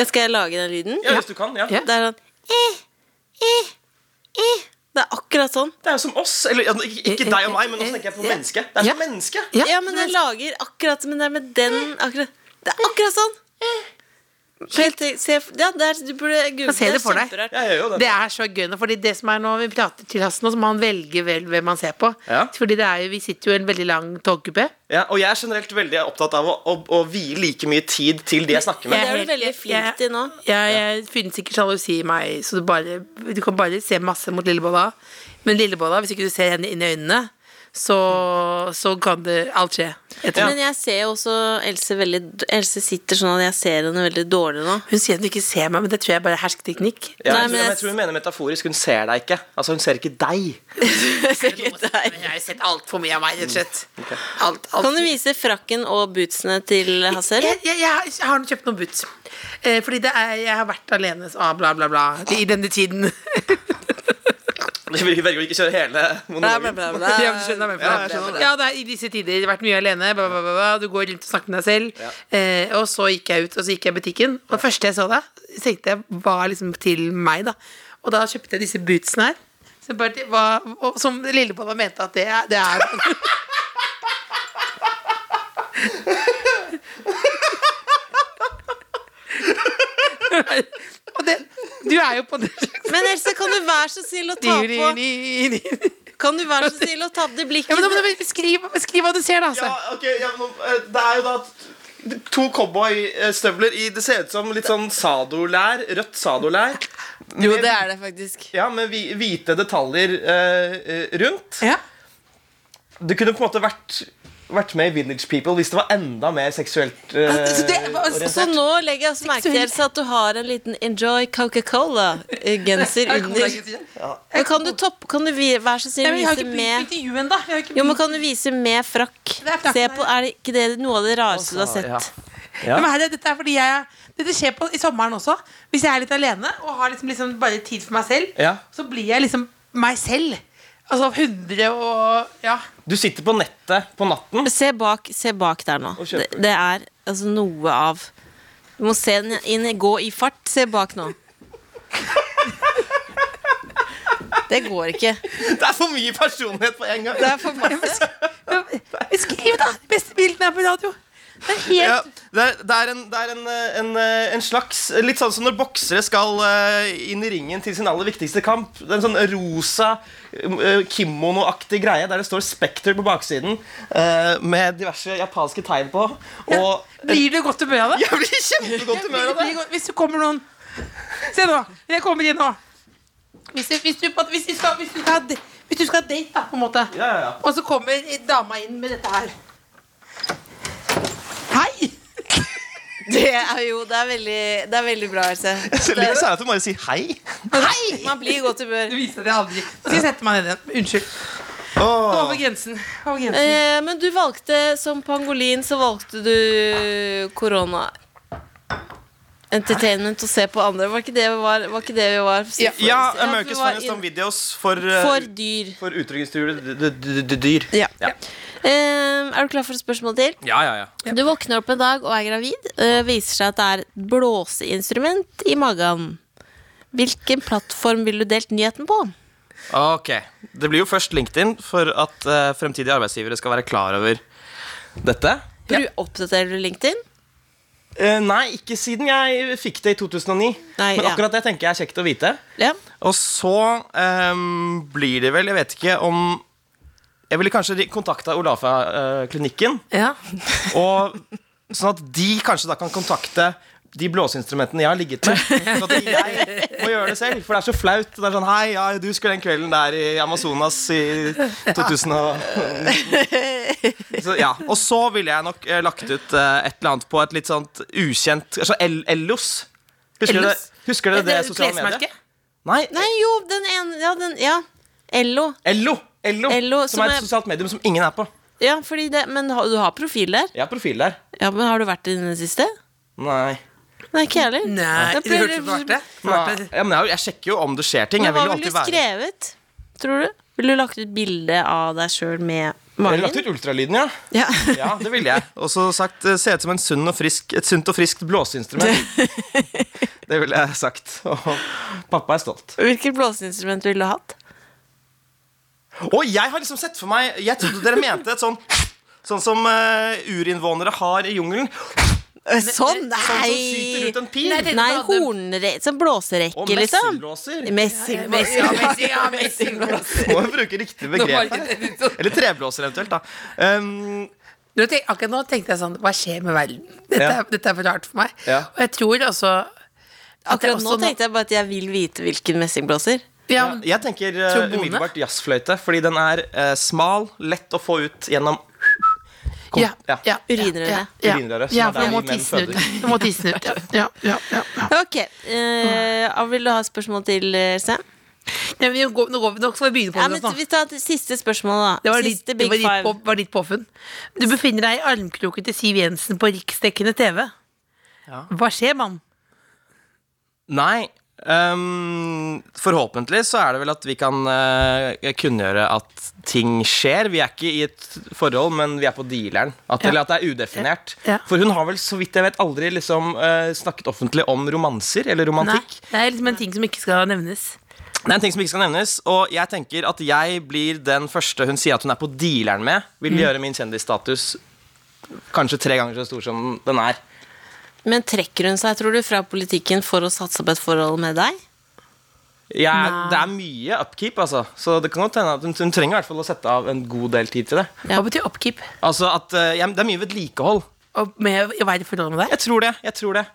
Speaker 4: Jeg skal jeg lage den lyden?
Speaker 5: Ja, hvis du kan. Ja.
Speaker 3: Ja.
Speaker 4: Det er sånn eh, eh, eh. Det er akkurat sånn.
Speaker 5: Det er jo som oss. Eller ja, ikke ikke deg og meg, men nå tenker jeg på
Speaker 3: Ja.
Speaker 5: mennesket. Det er
Speaker 3: Ja.
Speaker 5: som menneske.
Speaker 4: Ja, men den lager akkurat Men det er med den akkurat Det er akkurat sånn. Helt, se, ja, der, du burde google
Speaker 3: se det for deg.
Speaker 4: kjemperart.
Speaker 5: Jeg gjør jo
Speaker 3: Det
Speaker 5: det.
Speaker 3: er så gøy nå, fordi det som er nå vi prater til Hassen, og så må han velge vel hvem han ser på.
Speaker 5: Ja.
Speaker 3: Fordi det er jo, vi sitter jo i en veldig lang togkupé.
Speaker 5: Ja, og jeg er generelt veldig opptatt av å, å, å vie like mye tid til de jeg snakker
Speaker 4: Det
Speaker 5: med.
Speaker 4: er du veldig flink til nå.
Speaker 3: Jeg, jeg finnes ikke sjalusi i meg, så du, bare, du kan bare se masse mot Lillebolla. Men Lillebolla, hvis ikke du ser henne inn i øynene, så, så kan det alt skje. Jeg tror.
Speaker 4: Men jeg ser jo også Else veldig Else sitter sånn at jeg ser henne veldig dårlig nå.
Speaker 3: Hun sier at hun ikke ser meg, men det tror jeg bare er hersketeknikk.
Speaker 5: Ja,
Speaker 4: Nei, men
Speaker 5: jeg, tror, men
Speaker 4: jeg-
Speaker 5: jeg tror hun mener metaforisk. Hun ser deg ikke. Altså, hun ser ikke deg.
Speaker 4: Jeg ser ikke deg.
Speaker 3: Jeg har jo sett altfor mye av meg, rett og slett. Alt, alt.
Speaker 4: Kan du vise frakken og bootsene til Hasse? eller?
Speaker 3: Jeg, jeg, jeg, jeg har kjøpt noen boots. Eh, fordi det er, jeg har vært alene så ah, bla, bla, bla i denne tiden.
Speaker 5: Vi velger å ikke kjøre hele monologen.
Speaker 3: Ja, du skjønner hvem det
Speaker 5: Ja,
Speaker 3: er.
Speaker 5: jeg skjønner det.
Speaker 3: Ja, det er i disse tider vært mye alene. Bla, bla, bla, bla. Du går rundt og snakker med deg selv. Eh, og så gikk jeg ut, og så gikk jeg i butikken. Og det første jeg så da, tenkte jeg var liksom til meg, da. Og da kjøpte jeg disse bootsene her. Som, bare, det var, og, som Lillebolla mente at det er, det er sånn. Og det, du er jo på det
Speaker 4: Men Else, kan du være så snill å ta på Kan du være så snill å ta det
Speaker 3: Ja,
Speaker 4: blikket
Speaker 3: men da må du beskrive, beskriv hva du ser, da.
Speaker 5: Ja,
Speaker 3: Altså.
Speaker 5: ok, ja, men, eh, Det er jo da t- to cowboystøvler i Det ser ut som litt sånn sadolær. Rødt sadolær. Jo, det
Speaker 4: er det faktisk.
Speaker 5: Ja, med hvi- hvite detaljer eh, eh, rundt.
Speaker 3: Ja.
Speaker 5: Du kunne på en måte vært, vært med i Village People hvis det var enda mer seksuelt eh,
Speaker 3: Så det- altså,
Speaker 4: Så sånn- nå legger jeg også merke til Else, at du har en liten Enjoy Coca-Cola-genser under. Men kan du, topp, kan du vi- være så
Speaker 3: Nei,
Speaker 4: snill å
Speaker 3: men vi har
Speaker 4: vise
Speaker 3: ikke begynt
Speaker 4: med
Speaker 3: intervjuet ennå. Vi har ikke
Speaker 4: Jo, men kan du vise med frakk?
Speaker 3: er frakken
Speaker 4: Se på, er det ikke det noe av det rareste du har
Speaker 5: Ja.
Speaker 4: sett?
Speaker 5: Ja.
Speaker 3: Men herre, dette er fordi jeg Dette skjer på, i sommeren også. Hvis jeg er litt alene og har liksom, liksom bare tid for meg selv,
Speaker 5: Ja.
Speaker 3: så blir jeg liksom meg selv. Altså 100 og Ja.
Speaker 5: Du sitter på nettet på natten.
Speaker 4: Se bak, se bak der nå.
Speaker 5: Og
Speaker 4: Det,
Speaker 5: kjøper.
Speaker 4: det er altså noe av Du må se den inn, gå i fart. Se bak nå. Det går ikke.
Speaker 5: Det er for mye personlighet på en gang.
Speaker 4: Det er for masse.
Speaker 3: Beskriv, da! De beste bildene er på radio. Det er helt
Speaker 5: Ja, det er, det er, en, det er en, eh, en, eh, en slags Litt sånn som når boksere skal eh, inn i ringen til sin aller viktigste kamp. Det er en sånn rosa, eh, kimonoaktig greie der det står 'Spekter' på baksiden eh, med diverse japanske tegn på. Og
Speaker 3: Blir du i godt humør av det?
Speaker 5: jeg blir i kjempegodt humør
Speaker 3: Blir
Speaker 5: av det!
Speaker 3: du i godt- Hvis det kommer noen Se nå. Jeg kommer inn nå. Hvis, du- hvis, du, på- hvis, du skal, hvis, du skal, ha de- hvis du skal ha date, da, på en måte.
Speaker 5: Ja, ja, ja.
Speaker 3: Og så kommer dama inn med dette her. Hei!
Speaker 4: Det er jo det er veldig, det er veldig bra, Else.
Speaker 5: Så litt sånn. særlig at hun bare sier hei.
Speaker 3: Hei!
Speaker 4: Man blir i godt humør.
Speaker 3: Du viser det aldri. Nå skal jeg sette meg ned igjen. Unnskyld. Over grensen. Over grensen.
Speaker 4: Eh, men du valgte som pangolin, så valgte du korona. Entertainment å se på andre. Var ikke det vi var? var, ikke det vi var
Speaker 3: Ja.
Speaker 5: Ja,
Speaker 4: Ja, for det
Speaker 5: America's
Speaker 4: var
Speaker 5: Finest
Speaker 4: inn-
Speaker 5: Home Videos for, eh,
Speaker 4: For dyr.
Speaker 5: for utrykningstruede d- d- d- dyr.
Speaker 4: Ja.
Speaker 5: Ja.
Speaker 4: Eh, er du klar for et spørsmål til?
Speaker 5: Ja, ja, ja.
Speaker 4: Du våkner opp en dag og er gravid. eh, viser seg at det er et blåseinstrument i magen. Hvilken plattform ville du delt nyheten på?
Speaker 5: Ok, Det blir jo først LinkedIn for at eh, fremtidige arbeidsgivere skal være klar over dette.
Speaker 4: Bru, oppdaterer du LinkedIn?
Speaker 5: Eh, nei, ikke siden jeg fikk det i 2009.
Speaker 4: Nei,
Speaker 5: Men
Speaker 4: ja.
Speaker 5: akkurat det tenker jeg er kjekt å vite.
Speaker 4: Ja.
Speaker 5: Og så ehm, blir det vel Jeg vet ikke om Jeg ville kanskje eh, kontakta Olafa-klinikken.
Speaker 3: Ja.
Speaker 5: Og Sånn at de kanskje da kan kontakte de blåseinstrumentene jeg har ligget med. Så at jeg må gjøre det selv, for det er så flaut. Det er sånn, Hei, ja, du skulle den kvelden der i Amazonas i 2000 og så, ja. Og så ville jeg nok eh, lagt ut eh, et eller annet på et litt sånt ukjent Altså El Ellos. Husker dere
Speaker 3: Ellos?
Speaker 5: husker dere det, sosiale mediet?
Speaker 3: klesmerket?
Speaker 5: Nei,
Speaker 4: Nei, jo, den ene Ja. Den, ja. Ello.
Speaker 5: Ello. Ello,
Speaker 4: Ello,
Speaker 5: som,
Speaker 4: som
Speaker 5: er
Speaker 4: er-
Speaker 5: et sosialt medium som ingen er på.
Speaker 4: Ja, fordi det, men ha- du har profil der?
Speaker 5: Jeg har profil der.
Speaker 4: Ja, men Har du vært i den siste?
Speaker 5: Nei.
Speaker 4: Nei, ikke jeg heller.
Speaker 3: Nei,
Speaker 4: Da
Speaker 3: du
Speaker 4: pleier
Speaker 3: hørte ikke på Arte? Arte?
Speaker 5: Ja, men jeg, jeg sjekker jo om det skjer ting.
Speaker 4: Men
Speaker 5: Jeg
Speaker 4: hva
Speaker 5: vil jo
Speaker 4: ville
Speaker 5: alltid
Speaker 4: du
Speaker 5: være
Speaker 4: skrevet? Tror du? Ville du lagt ut bilde av deg sjøl med
Speaker 5: Jeg ville lagt
Speaker 4: magen?
Speaker 5: ut ultralyden, ja.
Speaker 4: Ja.
Speaker 5: Ja, det ville jeg. Og så sagt eh, se ut som en sunn og frisk, et sunt og friskt blåseinstrument. Det ville jeg sagt. Og pappa er stolt.
Speaker 4: Hvilket blåseinstrument ville du hatt?
Speaker 5: Og jeg har liksom sett for meg Jeg trodde dere mente et sånn Sånn som eh, urinnvånere har i jungelen.
Speaker 4: Sånn, nei!
Speaker 5: Sånn som skyter ut en pil.
Speaker 3: Nei, det-
Speaker 4: Nei,
Speaker 3: Hadde-
Speaker 4: hornrekke. Sånn blåserekke,
Speaker 5: Og
Speaker 4: liksom.
Speaker 5: messinglåser.
Speaker 4: Messi, messi.
Speaker 3: Ja, Messi, ja, Messi.
Speaker 5: Må jo bruke riktig begrep her.
Speaker 3: sånn.
Speaker 5: Eller treblåser eventuelt, da. Um,
Speaker 3: Nå tenk, akkurat nå tenkte jeg sånn Hva skjer med verden? Dette,
Speaker 5: Ja.
Speaker 3: er, dette er for rart for meg.
Speaker 5: Ja.
Speaker 3: Og jeg tror altså
Speaker 4: Akkurat nå tenkte jeg bare at jeg vil vite hvilken messingblåser.
Speaker 3: jeg ja,
Speaker 5: ja,
Speaker 3: men-
Speaker 5: jeg tenker eh,
Speaker 3: Trombone?
Speaker 5: umiddelbart jazzfløyte, fordi den er eh, smal, lett å få ut gjennom Kom-
Speaker 3: ja, ja, ja,
Speaker 4: Urinrøret.
Speaker 3: ja, ja.
Speaker 5: Urinrøret, som
Speaker 3: Ja,
Speaker 5: er
Speaker 3: for du
Speaker 5: der
Speaker 3: må
Speaker 5: vi menn
Speaker 3: tisse den ut.
Speaker 5: føder.
Speaker 3: Du må tisse den ut, ja. ja, ja, ja, ja.
Speaker 4: Ok, eh, Vil du ha et spørsmål til, eh, Else?
Speaker 3: Nei, men nå går- nå går vi nok, skal vi begynne på
Speaker 4: Ja,
Speaker 3: det
Speaker 4: men
Speaker 3: nå.
Speaker 4: vi tar det siste spørsmålet, da.
Speaker 3: Det var ditt,
Speaker 4: siste
Speaker 3: det var
Speaker 4: Big
Speaker 3: ditt,
Speaker 4: Five.
Speaker 3: på, var ditt påfunn. Du befinner deg i armkroken til Siv Jensen på riksdekkende TV.
Speaker 5: Ja.
Speaker 3: Hva skjer, mann?
Speaker 5: Nei. ehm, forhåpentlig så er det vel at vi kan eh, kunngjøre at ting skjer. Vi er ikke i et forhold, men vi er på dealeren. At,
Speaker 3: Ja.
Speaker 5: Eller at det er udefinert.
Speaker 3: Ja.
Speaker 5: For hun har vel så vidt jeg vet aldri liksom, eh, snakket offentlig om romanser eller
Speaker 3: Nei,
Speaker 5: romantikk.
Speaker 3: det er liksom en ting som ikke skal nevnes.
Speaker 5: Det er en ting som ikke skal nevnes, og jeg tenker at jeg blir den første hun sier at hun er på dealeren med,
Speaker 3: Mm.
Speaker 5: vil gjøre min kjendisstatus kanskje tre ganger så stor som den er.
Speaker 4: Men trekker hun seg, tror du, fra politikken for å satse på et forhold med deg?
Speaker 5: Jeg, det er mye upkeep, altså. Så det kan godt hende at hun, hun trenger i hvert fall å sette av en god del tid til det.
Speaker 4: Ja.
Speaker 3: Hva betyr oppkeep?
Speaker 5: Altså at eh, jeg, Det er mye vedlikehold.
Speaker 3: Og med å være i forhold med deg?
Speaker 5: Jeg tror det. jeg tror det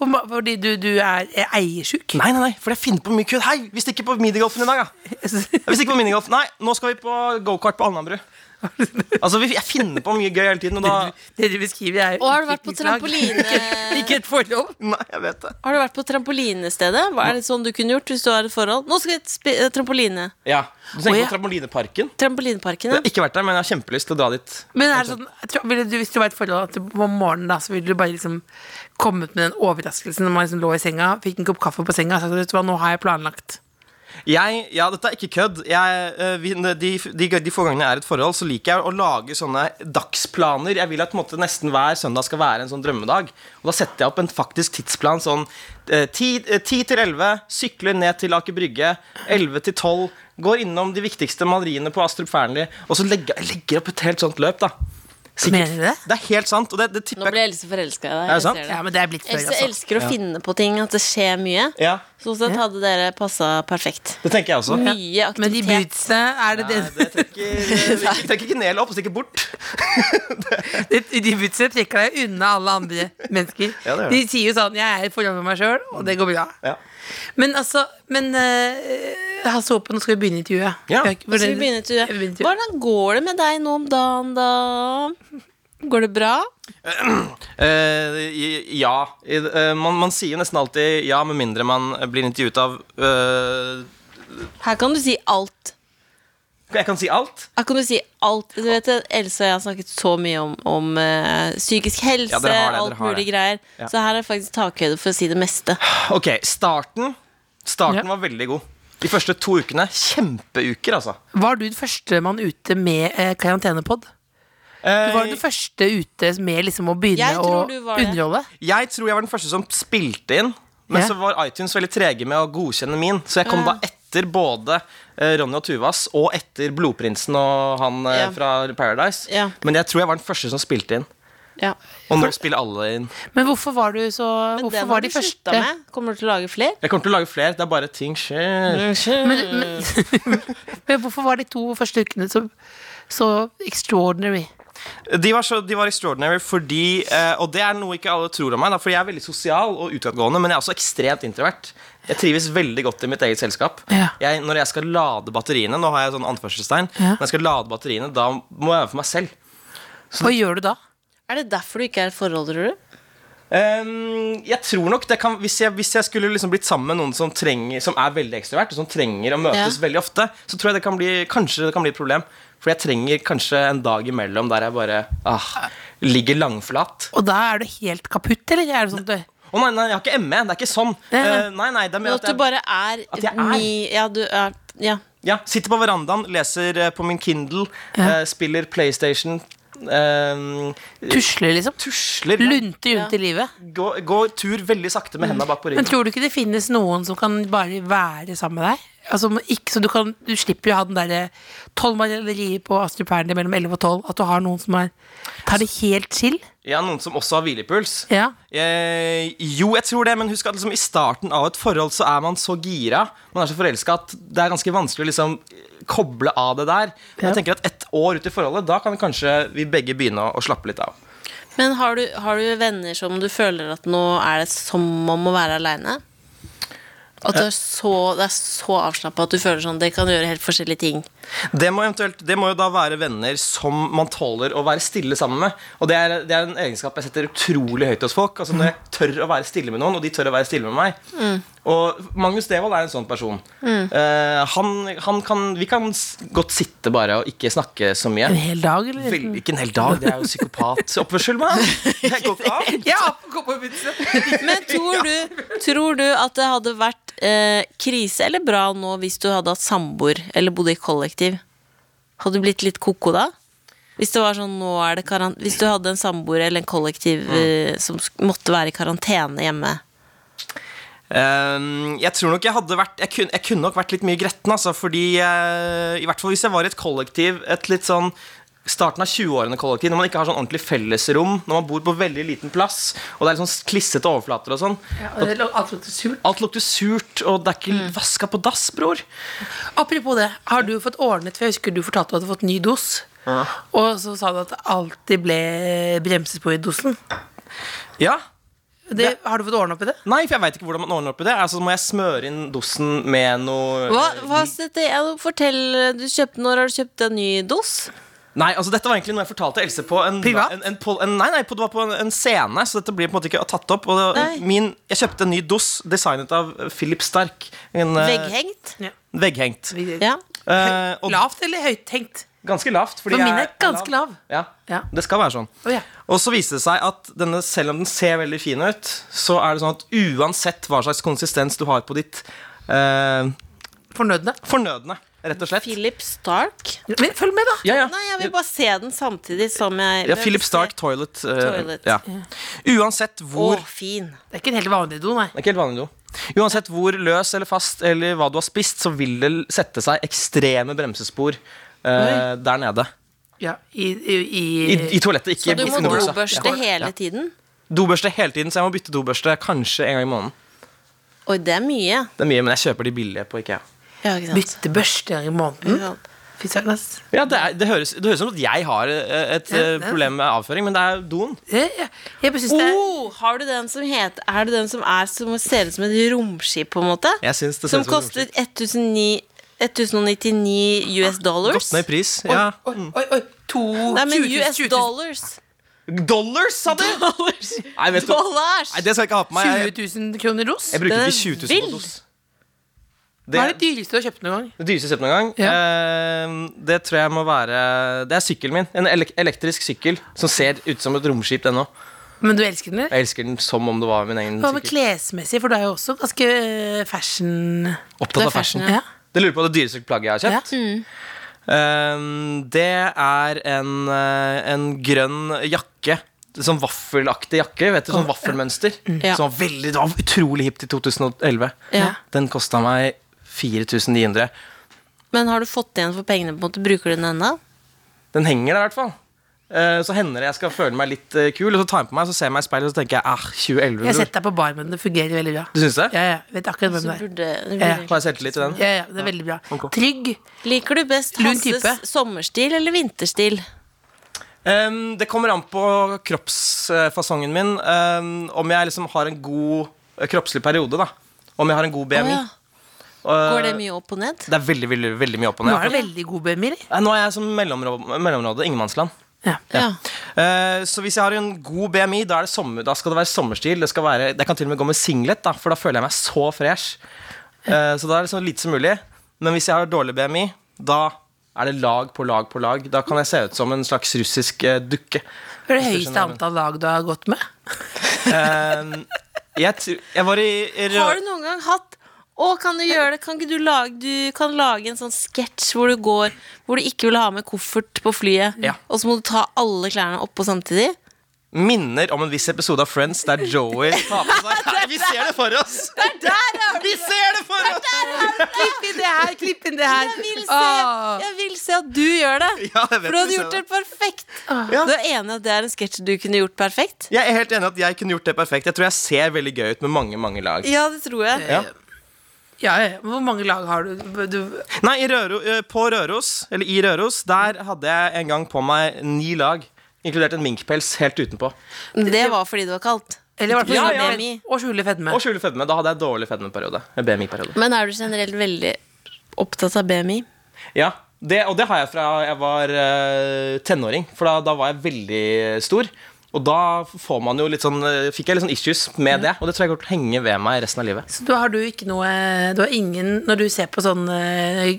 Speaker 3: På ma- Fordi du, du er er eiersjuk?
Speaker 5: Nei, nei, nei, for jeg finner på mye kødd. Hei, vi stikker på minigolfen i dag, ja. Vi stikker på minigolf. Nei, nå skal vi på gokart på Alnabru. Altså, vi, jeg finner på mye gøy hele tiden, og da
Speaker 3: Det du beskriver, er
Speaker 4: Og har du vært på
Speaker 3: utviklingslag.
Speaker 4: trampoline?
Speaker 3: Ikke- Ikke et forhold.
Speaker 5: Nei, jeg vet det.
Speaker 4: Har du vært på trampolinestedet? Hva er det sånn du kunne gjort hvis du har et forhold? Nå skal vi spi- eh, trampoline.
Speaker 5: Ja, Du
Speaker 3: Å,
Speaker 5: tenker
Speaker 3: ja.
Speaker 5: på trampolineparken?
Speaker 4: Trampolineparken,
Speaker 5: Jeg
Speaker 4: ja.
Speaker 5: har ikke vært der, men jeg har kjempelyst til å dra dit.
Speaker 3: Men er det sånn, jeg tror- ville du, hvis du var i et forhold at du på morgenen, da, så ville du bare liksom kommet med den overraskelsen når man liksom lå i senga, fikk en kopp kaffe på senga og sagt at nå har jeg planlagt.
Speaker 5: Jeg, ja, dette er ikke kødd. Jeg, eh, vi- de, de, de få gangene jeg er i et forhold, så liker jeg å lage sånne dagsplaner. Jeg vil at på en måte, nesten hver søndag skal være en sånn drømmedag. Og da setter jeg opp en faktisk tidsplan sånn eh, 10, eh, 10 til 11, sykler ned til Aker Brygge. 11 til 12, går innom de viktigste maleriene på Astrup Fearnley. Og så legger jeg legger opp et helt sånt løp, da.
Speaker 3: Mener du det?
Speaker 5: Det er helt sant. Og det, det
Speaker 4: Nå
Speaker 5: tipper
Speaker 4: ble Else forelska i deg.
Speaker 5: Er
Speaker 4: jeg
Speaker 5: det sant?
Speaker 4: ser
Speaker 3: Ja, men det er blitt før,
Speaker 4: Else
Speaker 3: altså.
Speaker 4: elsker å finne på ting, at det skjer mye.
Speaker 5: Ja,
Speaker 4: Sånn sett hadde dere passa perfekt.
Speaker 5: det tenker jeg også.
Speaker 4: Mye
Speaker 3: Men de
Speaker 4: aktivitet.
Speaker 3: bootsene, er det
Speaker 5: Nei,
Speaker 3: det?
Speaker 5: det trekker, trekker ikke ned opp og stikker bort.
Speaker 3: De de bootsene trekker deg unna alle andre mennesker.
Speaker 5: Ja, det gjør
Speaker 3: de
Speaker 5: det.
Speaker 3: sier jo sånn 'Jeg er i et forhold med meg sjøl, og det går bra'.
Speaker 5: Ja.
Speaker 3: Men altså Men eh, Hasse Hope, nå skal vi begynne intervjuet.
Speaker 5: Ja.
Speaker 3: Jeg-
Speaker 4: Skal vi begynne til
Speaker 3: Jeg vil begynne til-
Speaker 4: Hvordan går det med deg nå om dagen, da? Går det bra?
Speaker 5: Eh, i- ja. I, eh, man, man sier jo nesten alltid ja, med mindre man blir intervjuet av eh,
Speaker 4: Her kan du si alt.
Speaker 5: Jeg kan si alt.
Speaker 4: Her kan du si alt. Du vet, Else og jeg har snakket så mye om, om eh, psykisk helse,
Speaker 5: Ja, dere har det, dere
Speaker 4: alt
Speaker 5: har
Speaker 4: mulig
Speaker 5: det.
Speaker 4: greier.
Speaker 5: Ja.
Speaker 4: Så her er faktisk takhøyde for å si det meste.
Speaker 5: Ok, starten Starten
Speaker 3: Ja.
Speaker 5: var veldig god. De første to ukene. Kjempeuker, altså.
Speaker 3: Var du den første mann ute med eh, karantenepod? Du var jo den første ute med liksom å begynne
Speaker 4: Jeg
Speaker 3: å
Speaker 4: tror du var det.
Speaker 3: underholde.
Speaker 5: Eh, Jeg tror jeg var den første som spilte inn, men
Speaker 3: Ja.
Speaker 5: så var iTunes veldig trege med å godkjenne min. Så jeg kom da etter både eh, Ronny og Tuvas og etter Blodprinsen og han eh,
Speaker 4: Ja.
Speaker 5: fra Paradise.
Speaker 4: Ja.
Speaker 5: Men jeg tror jeg var den første som spilte inn.
Speaker 4: Ja.
Speaker 5: Og nå spiller alle inn.
Speaker 3: Men hvorfor var du så
Speaker 4: Men
Speaker 3: Hvorfor
Speaker 4: den har
Speaker 3: var
Speaker 4: du
Speaker 3: de
Speaker 4: slutta
Speaker 3: første
Speaker 4: med. Kommer du til å lage flere?
Speaker 5: Jeg kommer til å lage flere. Det er bare ting skjer.
Speaker 3: men, men,
Speaker 4: Mm.
Speaker 3: men hvorfor var de to første ukene så, så extraordinary?
Speaker 5: De var, så, de var extraordinary fordi eh, Og det er noe ikke alle tror om meg, da, fordi jeg er veldig sosial og utadgående, men jeg er også ekstremt introvert. Jeg trives veldig godt i mitt eget selskap.
Speaker 3: Ja.
Speaker 5: Jeg, når jeg skal lade batteriene Nå har jeg sånn anførselstegn.
Speaker 3: Ja.
Speaker 5: Når jeg skal lade batteriene, da må jeg være for meg selv.
Speaker 3: Hva gjør du da?
Speaker 4: Er det derfor du ikke er i et forhold, tror du?
Speaker 5: Ehm, jeg tror nok det kan Hvis jeg, hvis jeg skulle liksom blitt sammen med noen som, trenger, som er veldig ekstrovert, og som trenger å møtes
Speaker 4: Ja.
Speaker 5: veldig ofte, så tror jeg det kan bli kanskje det kan bli et problem. For jeg trenger kanskje en dag imellom der jeg bare ah, ligger langflat.
Speaker 3: Og da er du helt kaputt, eller? Er det sånn at du,
Speaker 5: Å nei, nei, jeg har ikke ME. Det er ikke sånn.
Speaker 3: Nei, nei.
Speaker 5: Eh, nei, nei, det er med
Speaker 4: Men
Speaker 5: at
Speaker 4: at du
Speaker 5: jeg
Speaker 4: bare er,
Speaker 5: At jeg er?
Speaker 4: Ni, Ja, du er Ja.
Speaker 5: ja, sitter på verandaen, leser eh, på min Kindle, eh, spiller PlayStation, eh,
Speaker 3: tusler, liksom?
Speaker 5: tusler,
Speaker 3: Lunte rundt i livet?
Speaker 5: går, går tur veldig sakte med hendene bak på
Speaker 3: Men
Speaker 5: ryggen.
Speaker 3: tror du ikke det finnes noen som kan bare være sammen med deg? Altså, men ikke, så du, kan, du slipper jo å ha den derre tolv malerier på Astrup Perner mellom 11 og 12. At du har noen som er, tar det helt chill.
Speaker 5: Ja, Noen som også har hvilepuls.
Speaker 3: Ja.
Speaker 5: Eh, jo, jeg tror det, men husk at liksom, i starten av et forhold så er man så gira, man er så forelska at det er ganske vanskelig å liksom koble av det der. Men
Speaker 3: Ja.
Speaker 5: jeg tenker at ett år ut i forholdet, da kan kanskje vi begge begynne å, å slappe litt av.
Speaker 4: Men har du, har du venner som du føler at nå er det som om å være aleine? At det er så, det er så avslappa at du føler sånn det kan gjøre helt forskjellige ting.
Speaker 5: Det må, eventuelt, det må jo da være venner som man tåler å være stille sammen med. Og det er, det er en egenskap jeg setter utrolig høyt hos folk. Altså Når jeg tør å være stille med noen, og de tør å være stille med meg. Og Magnus Devold er en sånn person. Eh, han, han kan, vi kan s- godt sitte bare og ikke snakke så mye.
Speaker 3: En hel dag, eller?
Speaker 5: Vel, ikke en hel dag, det er jo psykopat. Så Oppførsel, mann! Det går ikke an.
Speaker 3: Ja, gå på bussen.
Speaker 4: Men tror du, tror du at det hadde vært eh, krise eller bra nå hvis du hadde hatt samboer eller bodde i kollektiv? Hadde du blitt litt koko da? Hvis det var sånn, nå er det karan- Hvis du hadde en samboer eller en kollektiv eh, som sk- måtte være i karantene hjemme?
Speaker 5: Ehm, jeg tror nok jeg hadde vært Jeg kunne, jeg kunne nok vært litt mye gretten, altså, fordi eh, I hvert fall hvis jeg var i et kollektiv, et litt sånn Starten av 20-årene-kollektiv, når man ikke har sånn ordentlig fellesrom, når man bor på veldig liten plass, og det er litt sånn klissete overflater og sånn.
Speaker 3: Alt lukter surt.
Speaker 5: Alt lukter surt, og det er ikke vaska på dass, bror.
Speaker 3: Apropos det, har du fått ordnet For jeg husker du fortalte at du hadde fått ny dos. Og så sa du at det alltid ble bremsespor i dosen.
Speaker 5: Ja.
Speaker 3: Det, har du fått ordnet opp i det?
Speaker 5: Nei, for jeg veit ikke hvordan man ordner opp i det. Altså, så må jeg smøre inn dosen med noe
Speaker 4: Hva, hva setter jeg Fortell, du kjøpte, når har du kjøpt en ny dos?
Speaker 5: Nei, altså dette var egentlig noe jeg fortalte Else på en,
Speaker 3: Privat?
Speaker 5: En, en, pol- en, nei, nei, på, det var på en, en scene, så dette blir på en måte ikke tatt opp. Og det,
Speaker 4: Nei.
Speaker 5: min, jeg kjøpte en ny dos designet av eh, Philip Stark. En, eh,
Speaker 4: Vegghengt?
Speaker 5: Vegghengt.
Speaker 4: Ja.
Speaker 5: Eh, og
Speaker 3: Lavt eller høyttenkt?
Speaker 5: ganske lavt. fordi
Speaker 3: For min
Speaker 5: jeg
Speaker 3: er ganske lav.
Speaker 5: Ja,
Speaker 3: Ja.
Speaker 5: Det skal være sånn.
Speaker 3: Å, ja.
Speaker 5: Og så viste det seg at denne, selv om den ser veldig fin ut, så er det sånn at uansett hva slags konsistens du har på ditt eh,
Speaker 3: Fornødne.
Speaker 5: fornødne, rett og slett
Speaker 4: Philip Stark?
Speaker 3: Men følg med, da.
Speaker 5: ja, ja.
Speaker 4: Nei, jeg vil bare se den samtidig som jeg
Speaker 5: ja, Philip Stark Toilet. eh,
Speaker 4: Toilet.
Speaker 5: Ja. Uansett
Speaker 4: Å,
Speaker 5: hvor
Speaker 4: fin.
Speaker 3: Det er ikke en helt vanlig do, nei.
Speaker 5: Det er ikke helt vanlig do. Uansett hvor løs eller fast eller hva du har spist, så vil det sette seg ekstreme bremsespor eh, der nede.
Speaker 3: Ja, i, i, i,
Speaker 5: I, i toalettet, ikke
Speaker 4: Så du
Speaker 5: i
Speaker 4: må
Speaker 5: snorsa.
Speaker 4: dobørste hele tiden?
Speaker 5: Ja. Dobørste hele tiden, så jeg må bytte dobørste kanskje en gang i måneden.
Speaker 4: Oi, det er mye.
Speaker 5: Det er mye, men jeg kjøper de billige på IKEA.
Speaker 4: Ja, ikke sant.
Speaker 3: Bytte børste en gang i måneden.
Speaker 5: Mm.
Speaker 4: Ja.
Speaker 3: Fy søren, ass.
Speaker 5: Ja, det, er, det, høres, det høres ut som at jeg har eh, et eh,
Speaker 3: det er-
Speaker 5: problem med avføring, men det er doen.
Speaker 3: Jeg, jeg, jeg bare synes det er
Speaker 4: Oh, har du den som heter Er det den som, er, som ser ut som et romskip, på en måte?
Speaker 5: Jeg synes det ser
Speaker 4: Som
Speaker 5: ut som et
Speaker 4: kostet 1009 1099 US dollars?
Speaker 5: Gått ned i pris. Ja.
Speaker 3: Oi, oi, oi. To
Speaker 4: Nei, men
Speaker 3: 20 000,
Speaker 4: US
Speaker 3: 20 000.
Speaker 4: dollars.
Speaker 5: Dollars, sa du?!
Speaker 4: Dollars!
Speaker 5: Nei, vet du
Speaker 4: Dollars.
Speaker 5: Nei, det skal jeg ikke ha på meg. Jeg,
Speaker 3: 20 000 kroner dos?
Speaker 5: jeg bruker
Speaker 4: Den er
Speaker 5: ikke 20 000
Speaker 4: vill.
Speaker 5: på dos.
Speaker 3: Hva er det dyreste du har kjøpt noen gang?
Speaker 5: Det dyreste jeg kjøpte noen gang, eh, det tror jeg må være Det er sykkelen min. En elek elektrisk sykkel som ser ut som et romskip ennå.
Speaker 3: Men du elsker den, eller?
Speaker 5: Jeg elsker den som om det var min egen
Speaker 3: Hva med
Speaker 5: sykkel.
Speaker 3: klesmessig, for du er jo også ganske øh, fashion
Speaker 5: Opptatt
Speaker 4: Det er
Speaker 5: av fashion.
Speaker 4: fashion,
Speaker 3: Ja.
Speaker 4: Mm.
Speaker 5: Det lurer på det dyreste plagget jeg har
Speaker 3: ja.
Speaker 5: kjøpt. Ehm, det er en, eh, en grønn jakke. Sånn vaffelaktig jakke. Vet du, sånn vaffelmønster.
Speaker 3: Mm.
Speaker 4: Ja.
Speaker 5: Som var veldig, det var utrolig hipt i 2011.
Speaker 4: Ja.
Speaker 5: Den kosta meg 4900.
Speaker 4: Men har du fått igjen for pengene? på en måte? Bruker du den ennå?
Speaker 5: Den henger der i hvert fall. Eh, så hender det jeg skal føle meg litt eh, kul, og så tar jeg på meg, så ser jeg meg i speilet, og så tenker jeg ah, 2011.
Speaker 3: Jeg har
Speaker 5: bror."
Speaker 3: sett deg på bar, men det fungerer veldig bra.
Speaker 5: Du syns det?
Speaker 3: Ja, ja, jeg vet akkurat hvem
Speaker 4: Så
Speaker 3: det er.
Speaker 4: burde, det
Speaker 3: Ja,
Speaker 4: burde.
Speaker 5: Har jeg selvtillit i den?
Speaker 3: Ja, ja, det er veldig bra.
Speaker 5: Ok.
Speaker 3: Trygg.
Speaker 4: Liker du best
Speaker 3: Lun
Speaker 4: Hasses
Speaker 3: type.
Speaker 4: sommerstil eller vinterstil?
Speaker 5: Ehm, det kommer an på kroppsfasongen min. ehm, om jeg liksom har en god eh, kroppslig periode, da. Om jeg har en god
Speaker 4: Å
Speaker 5: BMI.
Speaker 4: ja.
Speaker 5: Og,
Speaker 4: Går det mye opp og ned?
Speaker 5: Eh, det er veldig, veldig, veldig mye opp og
Speaker 3: Nå
Speaker 5: ned.
Speaker 3: er du veldig god, BMI. eller?
Speaker 5: Nei, Nå er jeg som mellområde, mellområde ingenmannsland.
Speaker 3: Ja.
Speaker 4: Ja.
Speaker 5: Eh, så hvis jeg har en god BMI, da, er det sommer, da skal det være sommerstil. Det skal være, jeg kan til og med gå med singlet, da, for da føler jeg meg så fresh. Eh, så da er det så lite som mulig. Men hvis jeg har dårlig BMI, da er det lag på lag på lag. Da kan jeg se ut som en slags russisk eh, dukke.
Speaker 3: Hva er det
Speaker 5: Hvis
Speaker 3: høyeste
Speaker 5: du skjønner hva jeg
Speaker 3: antall lag du har gått med?
Speaker 5: Eh, jeg, tr- jeg var i i rø-
Speaker 4: Har du noen gang hatt å, kan du gjøre det? Kan ikke du lage, du kan lage en sånn sketsj hvor du går Hvor du ikke vil ha med koffert på flyet,
Speaker 5: Ja.
Speaker 4: og så må du ta alle klærne oppå samtidig?
Speaker 5: minner om en viss episode av Friends der Joey tar på seg Vi ser det for oss!
Speaker 4: Der er
Speaker 5: Vi ser det for oss!
Speaker 3: Klipp inn det her, klipp inn det her.
Speaker 4: Jeg vil se,
Speaker 3: Åh.
Speaker 4: jeg vil se at du gjør det!
Speaker 5: Ah. Ja, jeg vet
Speaker 4: For du hadde
Speaker 5: vi ser
Speaker 4: gjort det
Speaker 5: det. Ah.
Speaker 4: perfekt.
Speaker 5: Ja.
Speaker 4: Du er enig at det er en sketsj du kunne gjort perfekt?
Speaker 5: Jeg er helt enig at jeg kunne gjort det perfekt. Jeg tror jeg ser veldig gøy ut med mange mange lag.
Speaker 4: Ja, det tror jeg.
Speaker 5: Ja.
Speaker 3: Ja, ja. Hvor mange lag har du? du
Speaker 5: Nei, i Røro, eh, på Røros, eller i Røros, der hadde jeg en gang på meg ni lag. Inkludert en minkpels helt utenpå.
Speaker 4: Men Det var fordi det var kaldt.
Speaker 3: eller i hvert fall
Speaker 5: Ja,
Speaker 4: ja.
Speaker 3: BMI. Og skjule fedme.
Speaker 5: Og skjule fedme. Da hadde jeg dårlig fedmeperiode. Eh, BMI-periode.
Speaker 4: Men er du generelt veldig opptatt av BMI?
Speaker 5: Ja, det, og det har jeg fra jeg var eh, tenåring, for da, da var jeg veldig stor. Og da får man jo litt sånn, eh, fikk jeg litt sånn issues med det, og det tror jeg kommer til å henge ved meg resten av livet.
Speaker 3: Så da har du ikke noe Du har ingen Når du ser på sånn eh,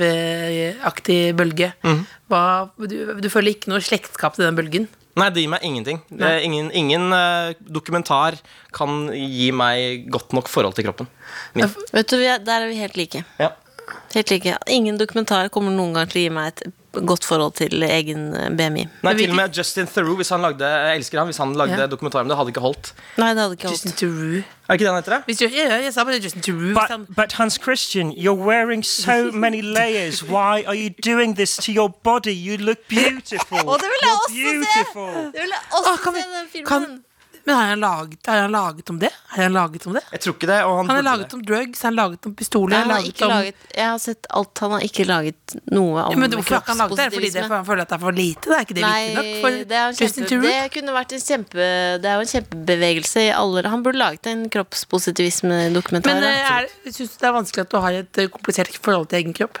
Speaker 3: bodypositiv-aktig bølge,
Speaker 5: Mhm.
Speaker 3: hva, du, du føler ikke noe slektskap til den bølgen?
Speaker 5: Nei, det gir meg ingenting. Det er Ingen, ingen eh, dokumentar kan gi meg godt nok forhold til kroppen. Min.
Speaker 4: Vet du, vi er- Der er vi helt like.
Speaker 5: Ja.
Speaker 4: Helt like. Ingen dokumentar kommer noen gang til å gi meg et godt forhold til egen eh, BMI.
Speaker 5: Nei,
Speaker 3: Men
Speaker 5: til og
Speaker 3: hvilken-
Speaker 5: med Justin Theroux, hvis han lagde Jeg elsker han, hvis han lagde
Speaker 3: Ja.
Speaker 5: dokumentar om det, hadde ikke holdt.
Speaker 4: Nei, det hadde ikke
Speaker 3: Justin
Speaker 4: holdt.
Speaker 3: Theroux.
Speaker 5: Er det ikke det han heter? det?
Speaker 3: Hvis du, ja, ja, jeg sa bare Justin Theroux. hvis han-
Speaker 6: But, but Hans Christian, you're wearing so many layers. Why are you doing this to your body? You look beautiful.
Speaker 4: Å, det vil jeg
Speaker 6: You're
Speaker 4: også se!
Speaker 6: beautiful.
Speaker 4: Det vil jeg
Speaker 3: Å,
Speaker 4: også
Speaker 3: Ah, kan vi-
Speaker 4: se den filmen.
Speaker 3: kan- men har han, laget, har han laget om det? Har han laget om det?
Speaker 5: Jeg tror ikke det. Og han,
Speaker 3: Han har
Speaker 5: burde
Speaker 3: laget om drugs, han har laget om pistoler
Speaker 4: Nei,
Speaker 3: han
Speaker 4: han
Speaker 3: har
Speaker 4: har
Speaker 3: laget
Speaker 4: ikke
Speaker 3: om,
Speaker 4: laget, jeg har sett alt. Han har ikke laget noe om
Speaker 3: Ja, Men hvorfor har ikke han laget det? Er det Fordi det, for
Speaker 4: kroppspositivisme.
Speaker 3: han føler at det er for lite? Det er ikke det viktig nok
Speaker 4: Nei,
Speaker 3: for
Speaker 4: det, er jo en
Speaker 3: Justin
Speaker 4: kjempe,
Speaker 3: Theroux?
Speaker 4: det kunne vært en kjempe Det er jo en kjempebevegelse i alle Han burde laget en kroppspositivisme-dokumentar. altså.
Speaker 3: Men
Speaker 4: da.
Speaker 3: eh, er, syns du det er vanskelig at du har et eh, komplisert forhold til egen kropp?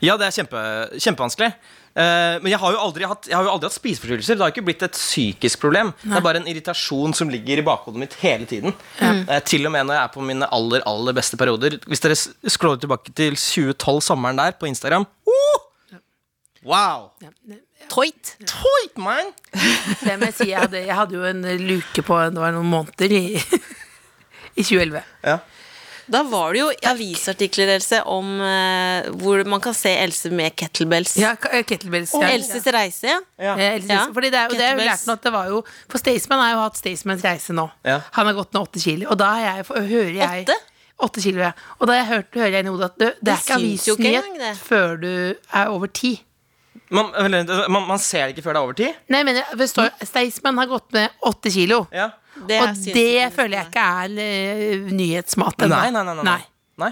Speaker 5: Ja, det er kjempe, kjempevanskelig. Eh, men jeg har jo aldri hatt, jeg har jo aldri hatt spiseforstyrrelser. Det har ikke blitt et psykisk problem. Det er bare en irritasjon som ligger i bakhodet mitt hele tiden. Eh, til og med når jeg er på mine aller aller beste perioder. Hvis dere s- scroller tilbake til 2012, sommeren der, på Instagram oh! Wow!
Speaker 4: Toit!
Speaker 5: Toit, man!
Speaker 3: Det må jeg si, jeg hadde, jeg hadde jo en eh, luke på det var noen måneder i, i 2011.
Speaker 4: Da var det jo avisartikler, Else, om eh, hvor man kan se Else med kettlebells.
Speaker 3: Ja, k- eh, kettlebells. ja.
Speaker 4: Elses reise.
Speaker 5: Ja.
Speaker 3: Eh, Elses,
Speaker 4: Ja,
Speaker 3: Fordi det er, jo- det er jo
Speaker 4: kettlebells.
Speaker 3: lært nå at det var jo For Staysman har jo hatt Staysmans reise nå.
Speaker 5: Ja.
Speaker 3: Han har gått ned åtte kilo. Og da har jeg, for- hører jeg
Speaker 4: Åtte?
Speaker 3: Åtte kilo, ja. Og da har jeg hørt, hører jeg inni hodet at det, det er ikke
Speaker 4: syns jo ikke engang
Speaker 3: avisnyhet
Speaker 4: det.
Speaker 3: før du er over ti.
Speaker 5: Man, eller, man, man ser det ikke før det er over tid.
Speaker 3: Nei, jeg mener, det står Staysman har gått ned åtte kilo.
Speaker 5: Ja.
Speaker 4: Det
Speaker 3: og
Speaker 4: syns
Speaker 3: det
Speaker 4: ikke-
Speaker 3: føler jeg ikke er eh, nyhetsmat. ennå.
Speaker 5: Nei, nei, nei. nei, nei. nei.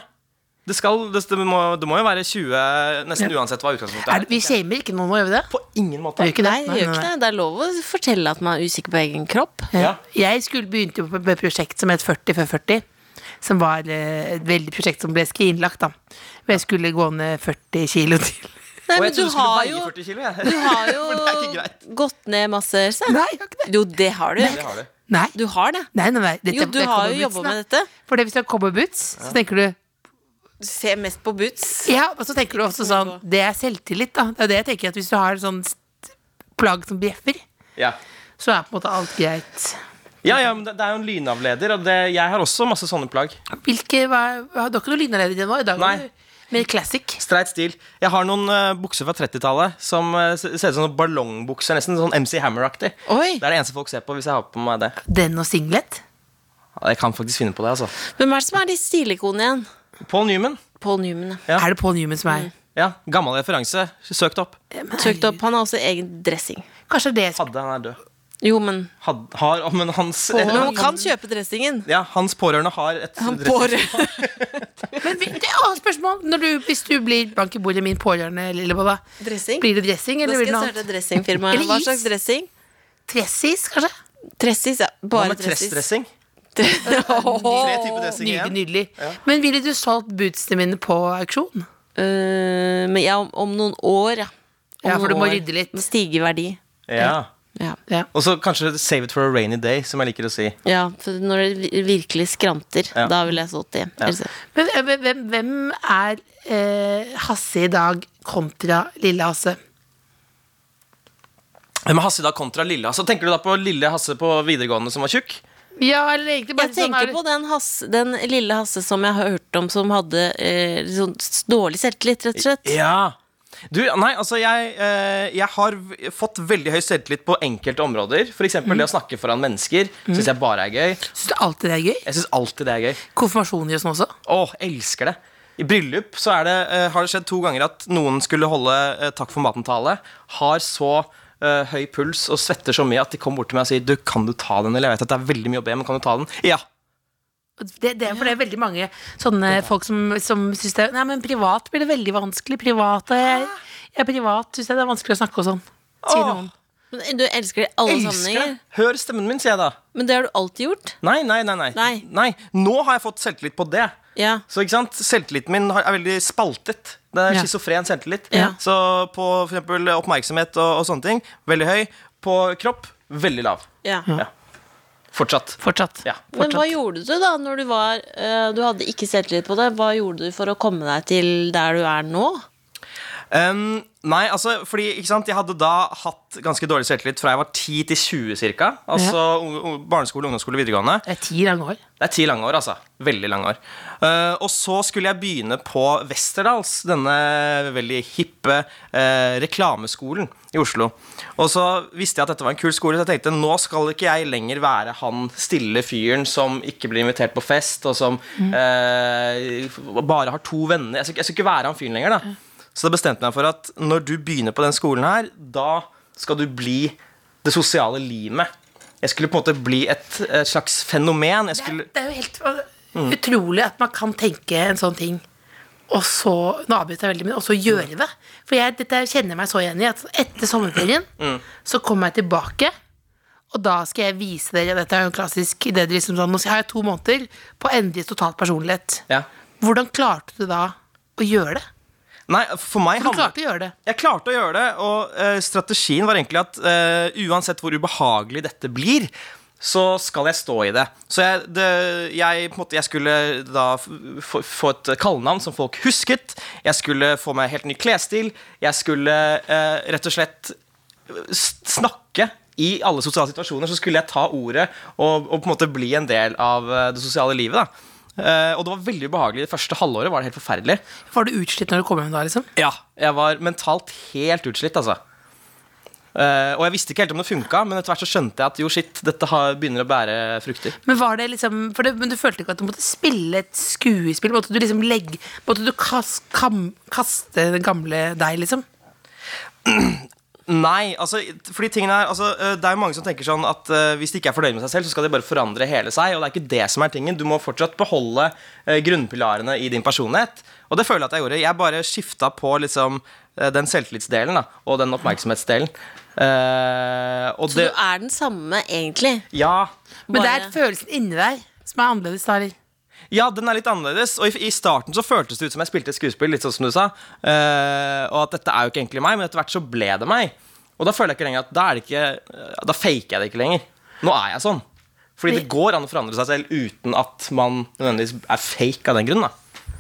Speaker 5: Det, skal, det, det, må, det må jo være 20 nesten uansett hva utgangspunktet
Speaker 3: Er,
Speaker 5: er.
Speaker 3: det- vi shamer ikke noen, må gjøre det?
Speaker 5: På ingen måte.
Speaker 3: Vi gjør ikke det.
Speaker 4: Nei, det gjør ikke det. Det er lov å fortelle at man er usikker på egen kropp.
Speaker 5: Ja.
Speaker 3: Eh, Jeg skulle begynte jo på et prosjekt som het 40 før 40. Som var eh, et veldig prosjekt som ble skrinlagt, da. Hvor jeg skulle gå ned 40 kilo til.
Speaker 4: Nei,
Speaker 5: Og
Speaker 4: men du
Speaker 5: jeg trodde du skulle
Speaker 4: har
Speaker 5: veie
Speaker 4: jo,
Speaker 5: 40 kilo, jeg.
Speaker 4: du har
Speaker 5: For det er ikke
Speaker 4: jo
Speaker 5: greit.
Speaker 4: gått ned masse, Else.
Speaker 3: Nei, jeg har ikke det.
Speaker 4: Jo, det har du.
Speaker 5: Det har du.
Speaker 3: Nei.
Speaker 4: Du har det.
Speaker 3: Nei, nei, nei. Dette,
Speaker 4: Jo, du
Speaker 3: det er
Speaker 4: har jo
Speaker 3: cowboyboots,
Speaker 4: jobba
Speaker 3: da.
Speaker 4: med dette.
Speaker 3: For det, hvis du har cowboyboots, så tenker du
Speaker 4: Du ser mest på boots.
Speaker 3: Ja, og så tenker du også sånn Det er selvtillit, da. Det er det jeg tenker at hvis du har sånn st- plagg som bjeffer,
Speaker 5: Ja.
Speaker 3: så er på en måte alt greit.
Speaker 5: Ja, ja, men det, det er jo en lynavleder, og det, jeg har også masse sånne plagg.
Speaker 3: Hvilke, hva, har dere noe lynavleder nå i dag?
Speaker 5: Nei.
Speaker 3: eller? Mer classic.
Speaker 5: Streit stil. Jeg har noen eh, bukser fra 30-tallet som eh, se- ser ut som sånne ballongbukser. Nesten sånn MC Hammer-aktig.
Speaker 4: Oi.
Speaker 5: Det er det eneste folk ser på hvis jeg har på meg det.
Speaker 3: Den og singlet.
Speaker 5: Ja, Jeg kan faktisk finne på det, altså.
Speaker 4: Hvem er det som er de stilikonene igjen?
Speaker 5: Paul Newman.
Speaker 4: Paul Newman. ja.
Speaker 5: Ja. Mm.
Speaker 3: Er det Paul Newman som er
Speaker 5: Ja, Gammel referanse. Søkt opp.
Speaker 4: Søkt opp. Han har også egen dressing.
Speaker 3: Kanskje det
Speaker 5: Hadde han er død.
Speaker 4: Jo, men
Speaker 5: Had, har, oh, men hans
Speaker 4: Men
Speaker 5: eh,
Speaker 4: man kan kjøpe dressingen.
Speaker 5: ja, Hans pårørende har et
Speaker 4: Han får
Speaker 3: Men vi- det er et annet spørsmål. Når du, hvis du blir bank i bordet min pårørende, Lillebolla,
Speaker 4: dressing.
Speaker 3: blir det dressing
Speaker 4: Da
Speaker 3: eller blir
Speaker 4: skal jeg
Speaker 3: det noe
Speaker 4: starte
Speaker 3: annet?
Speaker 4: dressingfirma.
Speaker 3: Eller
Speaker 4: Hva
Speaker 3: is.
Speaker 4: slags dressing?
Speaker 3: Tressis, kanskje?
Speaker 4: Tressis, ja.
Speaker 5: Hva
Speaker 4: Bare
Speaker 5: med
Speaker 4: tressis.
Speaker 5: tressdressing? Tre typer dressing
Speaker 3: Nydelig.
Speaker 5: igjen.
Speaker 3: nydelig Men ville du solgt bootsene mine på auksjon?
Speaker 4: Eh, men ja, om, om noen år, ja. Om
Speaker 3: Ja, for du
Speaker 4: noen
Speaker 3: må
Speaker 4: år.
Speaker 3: rydde litt.
Speaker 4: Det stiger i verdi.
Speaker 5: Ja.
Speaker 4: Ja.
Speaker 3: Ja.
Speaker 5: Og så kanskje save it for a rainy day, som jeg liker å si.
Speaker 4: ja, for når det vi- virkelig skranter,
Speaker 5: Ja.
Speaker 4: da ville jeg solgt det. Ellers-
Speaker 3: Men eh, hvem- hvem, hvem er eh, Hasse i dag kontra lille Hasse?
Speaker 5: Hvem er Hasse da kontra Lille Hasse? Tenker du da på lille Hasse på videregående som var tjukk?
Speaker 3: Ja, eller egentlig bare
Speaker 4: Jeg
Speaker 3: sånn
Speaker 4: tenker
Speaker 3: er-
Speaker 4: på den, Hasse, den lille Hasse som jeg har hørt om, som hadde eh, sånn s- dårlig selvtillit, rett og slett.
Speaker 5: Ja du, nei, altså jeg, eh, jeg har v- fått veldig høy selvtillit på enkelte områder. F.eks. eksempel det å snakke foran mennesker. Syns jeg bare er gøy.
Speaker 3: Syns du alltid det er gøy?
Speaker 5: Jeg syns alltid det er gøy.
Speaker 3: Konfirmasjoner og sånn også?
Speaker 5: Åh, elsker det. I bryllup så er det, eh, har det skjedd to ganger at noen skulle holde eh, takk for maten-tale, har så eh, høy puls og svetter så mye at de kommer bort til meg og sier Du, kan du ta den? Eller jeg vet at det er veldig mye å be, men kan du ta den? Ja.
Speaker 3: Det, det, for det er veldig mange sånne folk som, som syns det Nei, men privat blir det veldig vanskelig. Privat og
Speaker 4: Ah.
Speaker 3: jeg, jeg er privat syns jeg det er vanskelig å snakke og sånn. Sier
Speaker 5: Åh,
Speaker 3: noen.
Speaker 4: Men eh, Du elsker det i alle
Speaker 5: elsker det.
Speaker 4: sammenhenger.
Speaker 5: Hør stemmen min, sier jeg da.
Speaker 4: Men det har du alltid gjort.
Speaker 5: Nei, nei, nei. Nei.
Speaker 4: Nei.
Speaker 5: Nå har jeg fått selvtillit på det.
Speaker 4: Ja.
Speaker 5: Så ikke sant, Selvtilliten min har- er veldig spaltet. Det er
Speaker 3: Ja.
Speaker 5: schizofren selvtillit.
Speaker 4: Ja.
Speaker 5: Så på for eksempel oppmerksomhet og, og sånne ting, veldig høy. På kropp, veldig lav.
Speaker 4: Ja.
Speaker 5: Ja. Fortsatt.
Speaker 3: Fortsatt.
Speaker 5: Ja.
Speaker 4: Men hva
Speaker 3: Fortsatt.
Speaker 4: gjorde du da når du var eh, Du hadde ikke selvtillit på det. Hva gjorde du for å komme deg til der du er nå?
Speaker 5: Um, nei, altså, fordi, ikke sant, jeg hadde da hatt ganske dårlig selvtillit fra jeg var 10 til 20 cirka. Altså ung- ung- barneskole, ungdomsskole, videregående.
Speaker 3: Det er ti lange år.
Speaker 5: Det er ti lange år, altså. Veldig lange år. Eh, og så skulle jeg begynne på Westerdals, denne veldig hippe eh, reklameskolen i Oslo. Og så visste jeg at dette var en kul skole, så jeg tenkte nå skal ikke jeg lenger være han stille fyren som ikke blir invitert på fest, og som eh, bare har to venner. Jeg skal, jeg skal ikke være han fyren lenger, da. Så da bestemte jeg meg for at når du begynner på den skolen her, da skal du bli det sosiale limet. Jeg skulle på en måte bli et, et slags fenomen. Jeg skulle, Mm.
Speaker 3: Det er jo helt uh, utrolig at man kan tenke en sånn ting, og så Nå avbryter jeg veldig, men og så gjøre det. For jeg, dette kjenner jeg meg så igjen i. At etter sommerferien
Speaker 5: Mm.
Speaker 3: så kommer jeg tilbake. Og da skal jeg vise dere Dette er jo en klassisk det er liksom sånn, Nå har jeg to måneder på å endre totalt personlighet.
Speaker 5: ja.
Speaker 3: Hvordan klarte du da å gjøre det?
Speaker 5: Nei, for meg
Speaker 3: Du
Speaker 5: handler-
Speaker 3: klarte å gjøre det.
Speaker 5: Jeg klarte å gjøre det, og eh, strategien var egentlig at eh, uansett hvor ubehagelig dette blir, så skal jeg stå i det. Så jeg, det, jeg, på en måte, jeg skulle da f- få, få et kallenavn som folk husket. Jeg skulle få meg helt ny klesstil. Jeg skulle eh, rett og slett s- snakke i alle sosiale situasjoner. Så skulle jeg ta ordet og, og på en måte bli en del av eh, det sosiale livet. da. Eh, og det var veldig ubehagelig. Det første halvåret var det helt forferdelig.
Speaker 3: Var du utslitt når du kom hjem da? liksom?
Speaker 5: Ja, jeg var mentalt helt utslitt, altså. Eh, og jeg visste ikke helt om det funka, men etter hvert så skjønte jeg at jo, shit, dette har, begynner å bære frukter.
Speaker 3: Men var det liksom for det, Men du følte ikke at du måtte spille et skuespill? Måtte du liksom legge Måtte du kas, kam, kaste den gamle deg, liksom?
Speaker 5: Nei, altså, fordi tingene er altså, eh, Det er jo mange som tenker sånn at eh, hvis de ikke er fornøyd med seg selv, så skal de bare forandre hele seg. Og det er ikke det som er tingen. Du må fortsatt beholde eh, grunnpilarene i din personlighet. Og det føler jeg at jeg gjorde. Jeg bare skifta på liksom eh, den selvtillitsdelen da, og den oppmerksomhetsdelen. Eh, og
Speaker 4: Så
Speaker 5: det
Speaker 4: du er den samme, egentlig.
Speaker 5: Ja.
Speaker 3: Men det
Speaker 4: Bare-
Speaker 3: er følelsen inni deg som er annerledes. da, eller?
Speaker 5: Ja, den er litt annerledes. Og i, i starten så føltes det ut som jeg spilte et skuespill. Litt sånn som du sa eh, Og at dette er jo ikke egentlig meg, men etter hvert så ble det meg. Og da føler jeg ikke lenger at da, er det ikke, eh, da faker jeg det ikke lenger. Nå er jeg sånn. Fordi det går an å forandre seg selv uten at man nødvendigvis er fake av den grunn. da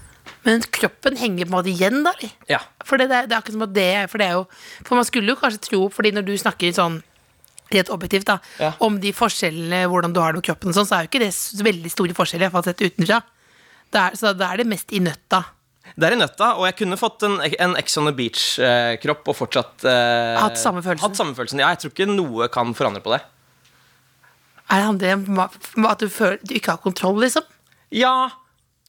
Speaker 3: Men kroppen henger på en måte igjen, da? eller?
Speaker 5: Ja.
Speaker 3: For det, det, er, det er akkurat som at det er- For det er jo For man skulle jo kanskje tro Fordi når du snakker sånn Rett objektivt da
Speaker 5: Ja.
Speaker 3: Om de forskjellene Hvordan du har det med kroppen og sånn Så er jo ikke det s- veldig store forskjeller I hvert fall sett utenfra det er, Så da er det mest i nøtta
Speaker 5: Det er i nøtta, og jeg kunne fått en, en Ex on the Beach-kropp og fortsatt eh,
Speaker 3: Hatt samme følelsen.
Speaker 5: Hatt samme følelsen. Ja, jeg tror ikke noe kan forandre på det.
Speaker 3: Er det handler om hva- om at du føler du ikke har kontroll, liksom?
Speaker 5: Ja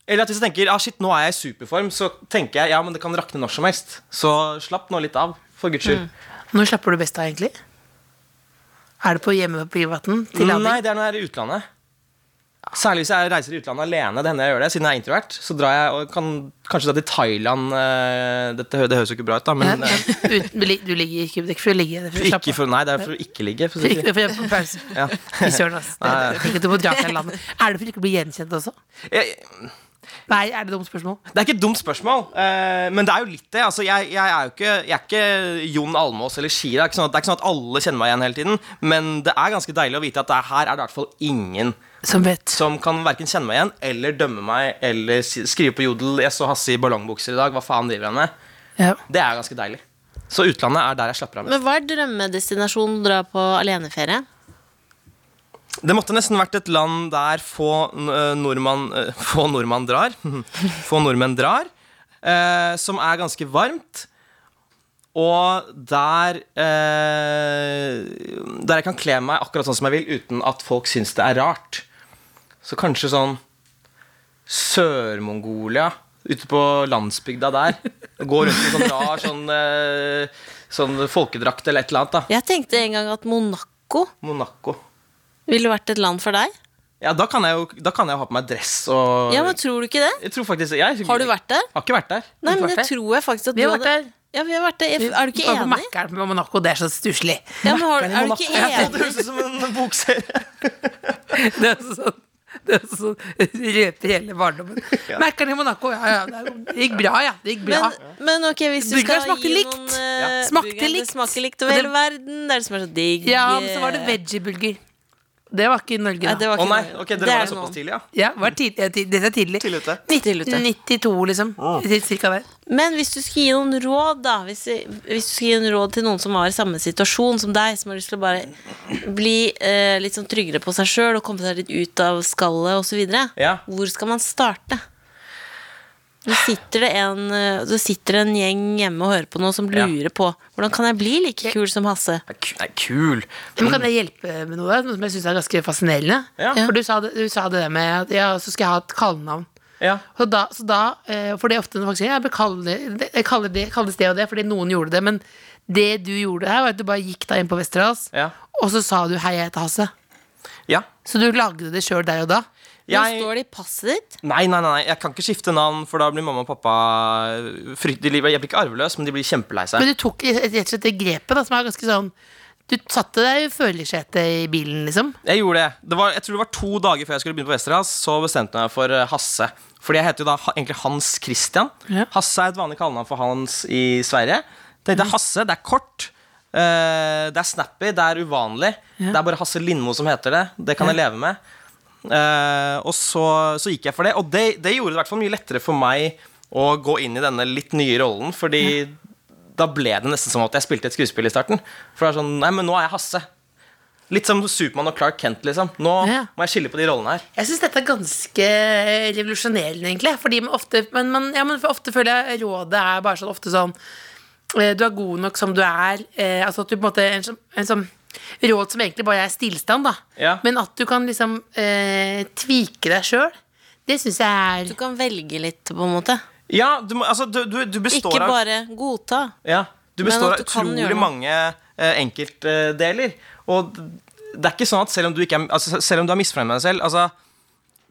Speaker 5: Eller at hvis jeg tenker ah, shit, nå er jeg i superform, så tenker jeg ja, men det kan rakne når som helst. Så slapp nå litt av, for guds skyld.
Speaker 3: Når slapper du best av, egentlig? Er det på hjemme på privaten? Til
Speaker 5: Nei,
Speaker 3: lading?
Speaker 5: det er når jeg er i utlandet. Særlig hvis jeg reiser i utlandet alene. Det hender jeg gjør det, siden jeg er introvert. Så drar jeg og kan kanskje dra til Thailand eh, Dette, hø- det høres jo ikke bra ut, da,
Speaker 3: Ja,
Speaker 5: men
Speaker 3: ja.
Speaker 5: eh,
Speaker 3: Uten- Du lig- du ligger ikke det er ikke for å ligge. Det er for å slappe
Speaker 5: ikke
Speaker 3: av.
Speaker 5: for, Nei, det er for å ikke ligge. For å
Speaker 3: For
Speaker 5: si
Speaker 3: ikke-
Speaker 5: det.
Speaker 3: for å få pause.
Speaker 5: Ja.
Speaker 3: Fy søren, ass. Det-
Speaker 5: Nei.
Speaker 3: det- tenk at du må dra til det landet. Er det for ikke å bli gjenkjent også?
Speaker 5: Jeg,
Speaker 3: Nei, er det dumt spørsmål?
Speaker 5: Det er ikke et dumt spørsmål, eh, men det er jo litt det. Altså, jeg, jeg er jo ikke, jeg er ikke Jon Almås eller Shira. Det er, ikke sånn at, det er ikke sånn at alle kjenner meg igjen hele tiden. Men det er ganske deilig å vite at det er, her er det i hvert fall ingen
Speaker 3: Som vet.
Speaker 5: som kan verken kjenne meg igjen eller dømme meg eller si- skrive på Jodel 'Jeg så Hasse i ballongbukser i dag', hva faen driver han med?
Speaker 3: Ja.
Speaker 5: Det er ganske deilig. Så utlandet er der jeg slapper av mest.
Speaker 4: Men hva er drømmedestinasjonen å dra på aleneferie?
Speaker 5: Det måtte nesten vært et land der få, eh, nordmann, eh, få nordmann drar. få nordmenn drar. eh, som er ganske varmt. Og der eh, Der jeg kan kle meg akkurat sånn som jeg vil, uten at folk syns det er rart. Så kanskje sånn Sør-Mongolia, ute på landsbygda der. Gå rundt med sånn rar sånn, eh, sånn folkedrakt eller et eller annet. da
Speaker 4: Jeg tenkte en gang at Monaco
Speaker 5: Monaco.
Speaker 4: ville vært et land for deg.
Speaker 5: Ja, da kan jeg jo, da kan jeg jo ha på meg dress og
Speaker 4: Ja, men tror du ikke det?
Speaker 5: Jeg tror faktisk jeg,
Speaker 4: Har du vært der?
Speaker 5: Har ikke vært der.
Speaker 4: Nei, men
Speaker 3: vært
Speaker 4: det
Speaker 3: der?
Speaker 4: tror jeg faktisk at
Speaker 3: Vi har
Speaker 4: du
Speaker 3: vært
Speaker 4: hadde-
Speaker 3: der.
Speaker 4: Ja, vi har vært der. Er du ikke
Speaker 3: Bare på
Speaker 4: enig?
Speaker 3: Mackeren på Monaco, det er så stusslig.
Speaker 4: Ja, men har, er du ikke
Speaker 5: Det
Speaker 4: enig?
Speaker 5: høres ut som en bokserie.
Speaker 3: Det er sånn det er sånn, røper hele barndommen. Mackeren i Monaco, ja, ja. Det gikk bra, ja. Det gikk bra.
Speaker 4: Men, men ok, hvis du
Speaker 3: Burgeren
Speaker 4: skal
Speaker 3: smakte
Speaker 4: gi
Speaker 3: likt.
Speaker 4: noen eh,
Speaker 5: Ja.
Speaker 3: Smakte
Speaker 4: burgeren,
Speaker 3: likt.
Speaker 4: Det smaker likt over
Speaker 3: Og det-
Speaker 4: hele verden. Det er det som er så digg.
Speaker 3: ja, men så var det veggiebulger. Det var ikke i Norge,
Speaker 4: Nei, det
Speaker 3: da.
Speaker 4: var
Speaker 5: Å
Speaker 4: ikke
Speaker 5: nei,
Speaker 4: noe.
Speaker 5: ok, dere
Speaker 4: Det
Speaker 5: var
Speaker 4: er
Speaker 5: det såpass
Speaker 4: noe.
Speaker 5: tidlig, ja.
Speaker 3: Ja, var tidlig, ja, tid- dette er tidlig.
Speaker 5: Tidlig Ah. ute.
Speaker 4: Tidlig ute.
Speaker 3: 1992, liksom. Cirka der.
Speaker 4: Men hvis du skulle gi noen råd, da hvis, hvis du skulle gi noen råd til noen som var i samme situasjon som deg, som har lyst til å bare bli eh, litt sånn tryggere på seg sjøl og komme seg litt ut av skallet osv.,
Speaker 5: Ja.
Speaker 4: hvor skal man starte? Det sitter, det, en, eh, det sitter en gjeng hjemme og hører på noe som
Speaker 5: Ja.
Speaker 4: lurer på hvordan kan jeg bli like kul som Hasse.
Speaker 5: Nei, ku- Nei, kul.
Speaker 3: Men kan jeg hjelpe med noe, da? Noe som jeg syns er ganske fascinerende.
Speaker 5: Ja.
Speaker 3: For du sa, det, du sa det der med at ja, så skal jeg ha et kallenavn.
Speaker 5: Ja.
Speaker 3: Så da, så da, eh, for det er ofte når folk sier jeg, kaller, jeg kaller det, kalles det og det fordi noen gjorde det, men det du gjorde her, var at du bare gikk da inn på Westerdals,
Speaker 5: Ja.
Speaker 3: og så sa du 'hei, jeg heter Hasse'.
Speaker 5: ja.
Speaker 3: Så du lagde det sjøl der og da.
Speaker 4: Nå
Speaker 5: Jeg, nei,
Speaker 4: står det i passet ditt.
Speaker 5: nei, nei, nei, jeg kan ikke skifte navn, for da blir mamma og pappa frykt, de blir- Jeg blir ikke arveløs, men de blir kjempelei seg.
Speaker 3: Men du tok rett og slett det grepet da, som er ganske sånn Du satte deg i følersetet i bilen, liksom.
Speaker 5: Jeg gjorde det. det var, jeg tror det var to dager før jeg skulle begynne på Westerdals, så bestemte jeg meg for eh, Hasse. Fordi jeg heter jo da ha, egentlig Hans Christian.
Speaker 3: Ja.
Speaker 5: Hasse er et vanlig kallenavn for Hans i Sverige. Tenkte jeg Hasse, det er kort. eh, det er snappy, det er uvanlig. Det er bare Hasse Lindmo som heter det. Det kan jeg leve med. Eh, og så, så gikk jeg for det. Og det, det gjorde det i hvert fall mye lettere for meg å gå inn i denne litt nye rollen, fordi da ble det nesten som at jeg spilte et skuespill i starten. For det er sånn, nei, men nå er jeg Hasse. Litt som Supermann og Clark Kent, liksom. Nå
Speaker 3: Ja.
Speaker 5: må jeg skille på de rollene her.
Speaker 3: Jeg syns dette er ganske revolusjonerende, egentlig. Fordi man ofte, men man, ja, men for ofte føler jeg rådet er bare sånn ofte sånn eh, Du er god nok som du er. eh, Altså at du på en måte En, sånn- en sånn råd som egentlig bare er stillstand, da.
Speaker 5: Ja.
Speaker 3: Men at du kan liksom eh, tvike deg sjøl, det syns jeg
Speaker 4: Du
Speaker 3: er
Speaker 4: kan velge litt, på en måte.
Speaker 5: Ja, du, må, altså, du, du, du består
Speaker 4: Ikke
Speaker 5: av
Speaker 4: bare godta.
Speaker 5: Ja, du
Speaker 4: Men
Speaker 5: består
Speaker 4: at
Speaker 5: av
Speaker 4: du kan gjøre
Speaker 5: utrolig
Speaker 4: noe.
Speaker 5: mange eh, enkeltdeler. og det er ikke sånn at selv om du, ikke er, altså, selv om du er misfornøyd med deg selv altså,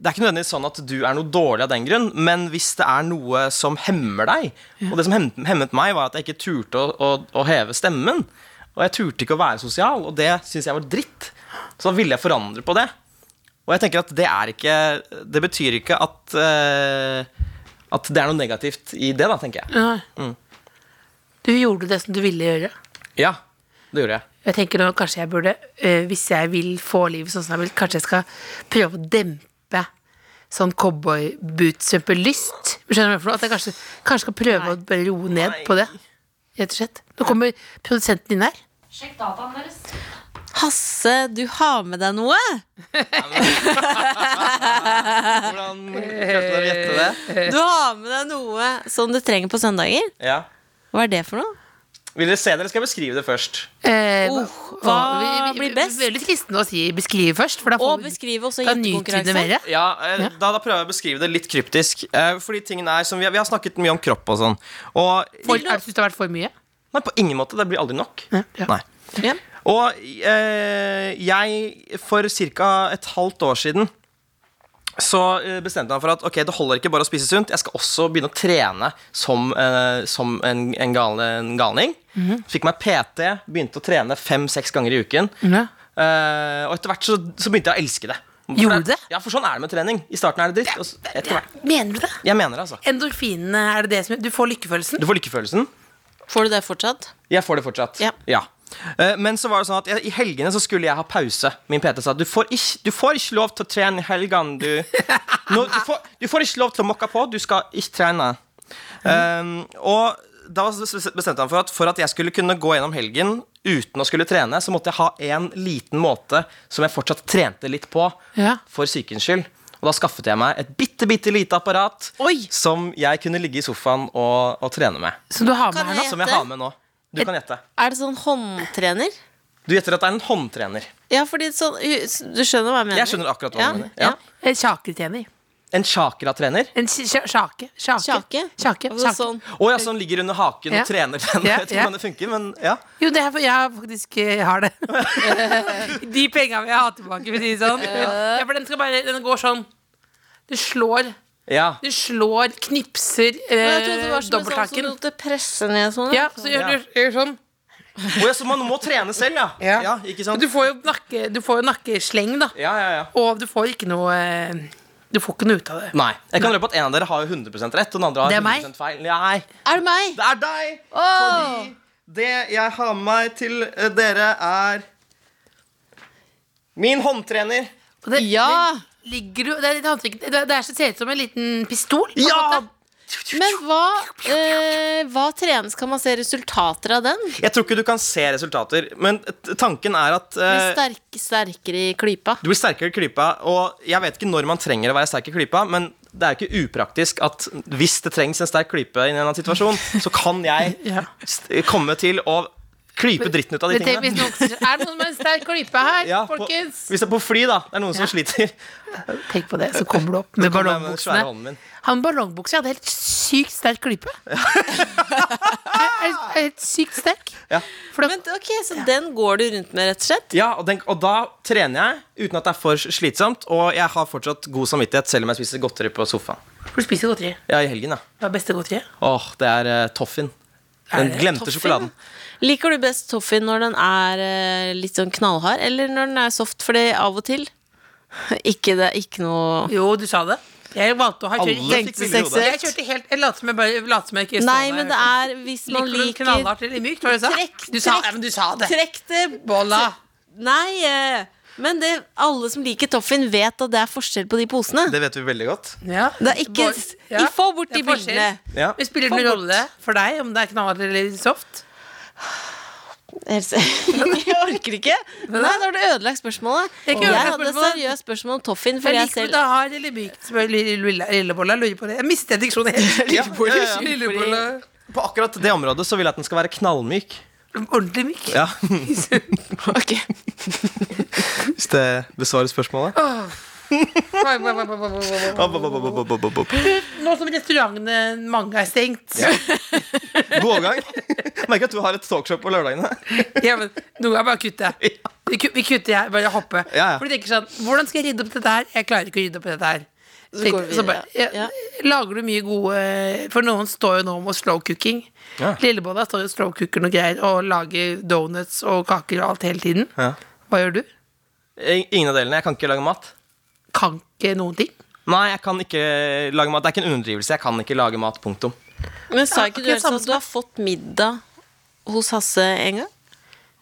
Speaker 5: Det er ikke nødvendigvis sånn at du er noe dårlig av den grunn, men hvis det er noe som hemmer deg Og det som hem, hemmet meg, var at jeg ikke turte å, å, å heve stemmen. Og jeg turte ikke å være sosial, og det syns jeg var dritt. Så da ville jeg forandre på det. Og jeg tenker at det er ikke Det betyr ikke at eh, At det er noe negativt i det, da, tenker jeg.
Speaker 3: Nei.
Speaker 4: Mm.
Speaker 3: Du gjorde det som du ville gjøre.
Speaker 5: Ja, det gjorde jeg.
Speaker 3: Jeg tenker nå, kanskje jeg burde, eh, hvis jeg vil få livet sånn som jeg vil, kanskje jeg skal prøve å dempe sånn cowboyboots for lyst. Skjønner du hva jeg mener? At jeg kanskje, kanskje skal prøve å bare roe ned på det. Rett og slett. Nå kommer produsenten inn her.
Speaker 4: Hasse, du har med deg noe?
Speaker 5: Hvordan klarte dere å gjette det?
Speaker 4: Du har med deg noe som du trenger på søndager.
Speaker 5: Ja.
Speaker 4: Hva er det for noe?
Speaker 5: Vil dere se det, eller skal jeg beskrive det først?
Speaker 3: Eh,
Speaker 4: Oh,
Speaker 3: hva-
Speaker 4: hva
Speaker 3: vi- vi-
Speaker 4: blir best?
Speaker 3: Vi er veldig fristende å si beskrive først, for da får
Speaker 4: Og
Speaker 3: vi
Speaker 4: beskrive også
Speaker 3: kan nytyde
Speaker 4: gjettekonkurranse.
Speaker 3: mer.
Speaker 5: Ja, eh, Da, da prøver jeg å beskrive det litt kryptisk. Eh, fordi tingene er som vi, har- vi har snakket mye om kropp og sånn. Og
Speaker 3: For, er det synes det har vært for mye?
Speaker 5: Nei, på ingen måte. Det blir aldri nok.
Speaker 3: Ja, ja.
Speaker 5: Nei.
Speaker 4: Ja.
Speaker 5: Og eh, jeg, for ca. et halvt år siden, så eh, bestemte jeg meg for at ok, det holder ikke bare å spise sunt, jeg skal også begynne å trene som, eh, som en, en, gal, en galning. Fikk meg PT, begynte å trene fem-seks ganger i uken.
Speaker 3: Ja.
Speaker 5: Eh, og etter hvert så, så begynte jeg å elske det. For
Speaker 3: Gjorde
Speaker 5: det-
Speaker 3: det?
Speaker 5: Ja, for sånn er det med trening. I starten er det dritt. Og så, etter hvert,
Speaker 3: Mener du det?
Speaker 5: jeg mener det, altså.
Speaker 3: Endorfinene, er det det som Du får lykkefølelsen?
Speaker 5: Du får lykkefølelsen.
Speaker 4: Får du det fortsatt?
Speaker 5: Jeg får det fortsatt.
Speaker 4: Ja.
Speaker 5: Eh, Men så var det sånn at jeg, i helgene så skulle jeg ha pause. Min PT sa du får ikke, du får ikke lov til å trene i helgene. Du, Nå, du, får, du får ikke lov til å mokke på. Du skal ikke trene. Um, og da s- s- bestemte han for at for at jeg skulle kunne gå gjennom helgen uten å skulle trene, så måtte jeg ha en liten måte som jeg fortsatt trente litt på
Speaker 3: Ja.
Speaker 5: for sykens skyld. Og da skaffet jeg meg et bitte, bitte lite apparat
Speaker 3: Oi!
Speaker 5: som jeg kunne ligge i sofaen og, og trene med.
Speaker 3: Som du har med
Speaker 4: Kan
Speaker 3: her
Speaker 4: jeg-
Speaker 3: nå?
Speaker 5: Som jeg
Speaker 4: Gjette?
Speaker 5: har med nå. Du kan gjette.
Speaker 4: Er det sånn håndtrener?
Speaker 5: Du gjetter at det er en håndtrener.
Speaker 4: Ja, fordi sånn Du skjønner hva jeg mener?
Speaker 5: Jeg skjønner akkurat hva
Speaker 4: ja,
Speaker 5: du mener. Ja.
Speaker 3: En sjaketjener.
Speaker 5: En chakra-trener.
Speaker 3: En sj- sj- sjake.
Speaker 4: Kjake.
Speaker 3: Sjake. Sjake.
Speaker 4: Altså
Speaker 3: sjake.
Speaker 4: Sånn.
Speaker 5: Å ja, som ligger under haken
Speaker 3: Ja.
Speaker 5: og trener den.
Speaker 3: Ja,
Speaker 5: Jeg vet ikke
Speaker 3: ja.
Speaker 5: hvordan det funker, men ja.
Speaker 3: Jo, det er, for- jeg har faktisk jeg har det. De penga vil jeg ha tilbake, for å si det sånn. Ja, for den, skal bare, den går sånn. Du slår,
Speaker 5: ja.
Speaker 3: du slår, knipser
Speaker 4: Jeg trodde det
Speaker 3: eh,
Speaker 4: var som en sånn som du
Speaker 3: dobbelthaken.
Speaker 4: måtte presse ned sånn.
Speaker 3: Ja, så gjør du gjør sånn.
Speaker 5: Å ja, så man må trene selv, ja.
Speaker 3: Ja.
Speaker 5: ikke
Speaker 3: Men
Speaker 5: sant?
Speaker 3: Du får jo, nakke, du får jo nakkesleng, da.
Speaker 5: Ja, ja, ja.
Speaker 3: Og du får ikke noe eh, Du får ikke noe ut av det.
Speaker 5: Nei. Jeg kan røpe at en av dere har jo 100 rett, og den andre har
Speaker 3: Det er meg.
Speaker 5: 100 feil. Nei,
Speaker 4: Er det meg?
Speaker 5: det er deg!
Speaker 4: Åh!
Speaker 5: Det jeg har med meg til eh, dere, er Min håndtrener.
Speaker 3: Og det
Speaker 4: Ja!
Speaker 3: det ligger jo Det er litt håndtrykk Det, det er så ser ut som en liten pistol. på en
Speaker 5: Ja!
Speaker 3: måte.
Speaker 4: Men hva, eh, hva trenes? Kan man se resultater av den?
Speaker 5: Jeg tror ikke du kan se resultater, men t- tanken er at
Speaker 4: Bli
Speaker 5: eh,
Speaker 4: sterk, sterkere i klypa.
Speaker 5: Du blir sterkere i klypa, og jeg vet ikke når man trenger å være sterk i klypa, men det er jo ikke upraktisk at hvis det trengs en sterk klype i en eller annen situasjon, så kan jeg
Speaker 3: Ja.
Speaker 5: st- komme til å klype dritten ut av de
Speaker 3: Men tenk hvis
Speaker 5: tingene.
Speaker 3: noen, er det noen med en sterk klype her,
Speaker 5: Ja, på,
Speaker 3: folkens?
Speaker 5: hvis det er på fly, da. Det er noen som sliter.
Speaker 3: Tenk på det, så kommer du opp med
Speaker 5: kommer jeg med den svære hånden
Speaker 3: ballongbuksene.
Speaker 5: min.
Speaker 3: Han med ballongbuksa hadde helt sykt sterk klype. helt, helt sykt sterk.
Speaker 5: Ja.
Speaker 3: For da,
Speaker 4: Men ok, Så den går du rundt med, rett og slett?
Speaker 5: Ja, og, den, og da trener jeg uten at det er for slitsomt, og jeg har fortsatt god samvittighet selv om jeg spiser godteri på sofaen.
Speaker 3: for du spiser godteri.
Speaker 5: Ja, i helgen, ja.
Speaker 3: Hva er beste godteriet?
Speaker 5: Åh, det er eh, Toffin. Den glemte sjokoladen.
Speaker 4: Liker du best toffee når den er eh, litt sånn knallhard, eller når den er soft? For det er av og til Ikke det, ikke noe
Speaker 3: Jo, du sa det. Jeg valgte å ha
Speaker 5: Alle
Speaker 3: kjørt
Speaker 5: fikk
Speaker 4: tenkte
Speaker 5: bilde i hodet.
Speaker 4: seksuelt.
Speaker 3: Jeg kjørte helt Jeg lot som jeg bare lot som jeg ikke så
Speaker 4: Nei,
Speaker 3: det.
Speaker 4: men det er hvis man
Speaker 3: Liker du
Speaker 4: liker
Speaker 3: knallhardt eller mykt? Hva var det du sa?
Speaker 4: Trekk-
Speaker 3: du sa?
Speaker 4: trekk-
Speaker 3: Ja, men du sa det.
Speaker 4: Trekk det
Speaker 3: Bolla.
Speaker 4: Nei, eh, men det, alle som liker toffin, vet at det er forskjell på de posene.
Speaker 5: Det vet vi veldig godt.
Speaker 3: Ja.
Speaker 4: Det er ikke
Speaker 3: Ja.
Speaker 4: Få bort
Speaker 3: Det
Speaker 4: de
Speaker 3: er forskjell.
Speaker 4: bildene.
Speaker 5: Ja.
Speaker 3: Men Spiller det noen rolle for deg om det er knallhardt eller soft?
Speaker 4: Else, Jeg orker ikke. Nei, da har du ødelagt spørsmålet.
Speaker 3: Det er ikke
Speaker 4: Jeg
Speaker 3: ødelagt
Speaker 4: hadde
Speaker 3: spørsmål.
Speaker 4: seriøst spørsmål om toffin,
Speaker 3: Jeg
Speaker 4: fordi jeg
Speaker 3: liker
Speaker 4: selv
Speaker 3: det hard eller mykt, spør Lille- Lillebolla. Lurer på det. Jeg mistet diksjonen helt.
Speaker 5: Ja, ja, ja.
Speaker 3: Lillebolla.
Speaker 5: På akkurat det området så vil jeg at den skal være knallmyk.
Speaker 3: Ordentlig myk.
Speaker 5: Ja,
Speaker 4: Ok.
Speaker 5: Hvis det besvarer spørsmålet.
Speaker 3: Oi, oi, oi, oi, oi, oi.
Speaker 5: Opp, opp, opp, opp, opp, opp, opp.
Speaker 3: Nå som restaurantene mange er stengt
Speaker 5: God overgang. Merker at du har et talkshow på lørdagene.
Speaker 3: ja, men, Noen ganger bare kutte. Vi ku- vi kutter her, bare hoppe.
Speaker 5: Ja, ja.
Speaker 3: For du tenker sånn Hvordan skal jeg rydde opp dette her? Jeg klarer ikke å rydde opp dette her.
Speaker 4: går
Speaker 3: Tenk-
Speaker 4: vi
Speaker 3: så bare,
Speaker 4: videre.
Speaker 3: ja, Lager du mye gode For noen står jo nå mot slow cooking.
Speaker 5: Ja.
Speaker 3: Lillebolla står jo og slow cooker noe greier og lager donuts og kaker og alt hele tiden.
Speaker 5: Ja.
Speaker 3: Hva gjør du?
Speaker 5: Ingen av delene. Jeg kan ikke lage mat.
Speaker 3: Kan ikke noen ting.
Speaker 5: Nei, jeg kan ikke lage mat. Det er ikke en underdrivelse. Jeg kan ikke lage mat. Punktum.
Speaker 4: Men sa ikke du
Speaker 3: akkurat
Speaker 4: Else,
Speaker 3: samme
Speaker 4: at
Speaker 3: som
Speaker 4: du har fått middag hos Hasse en gang?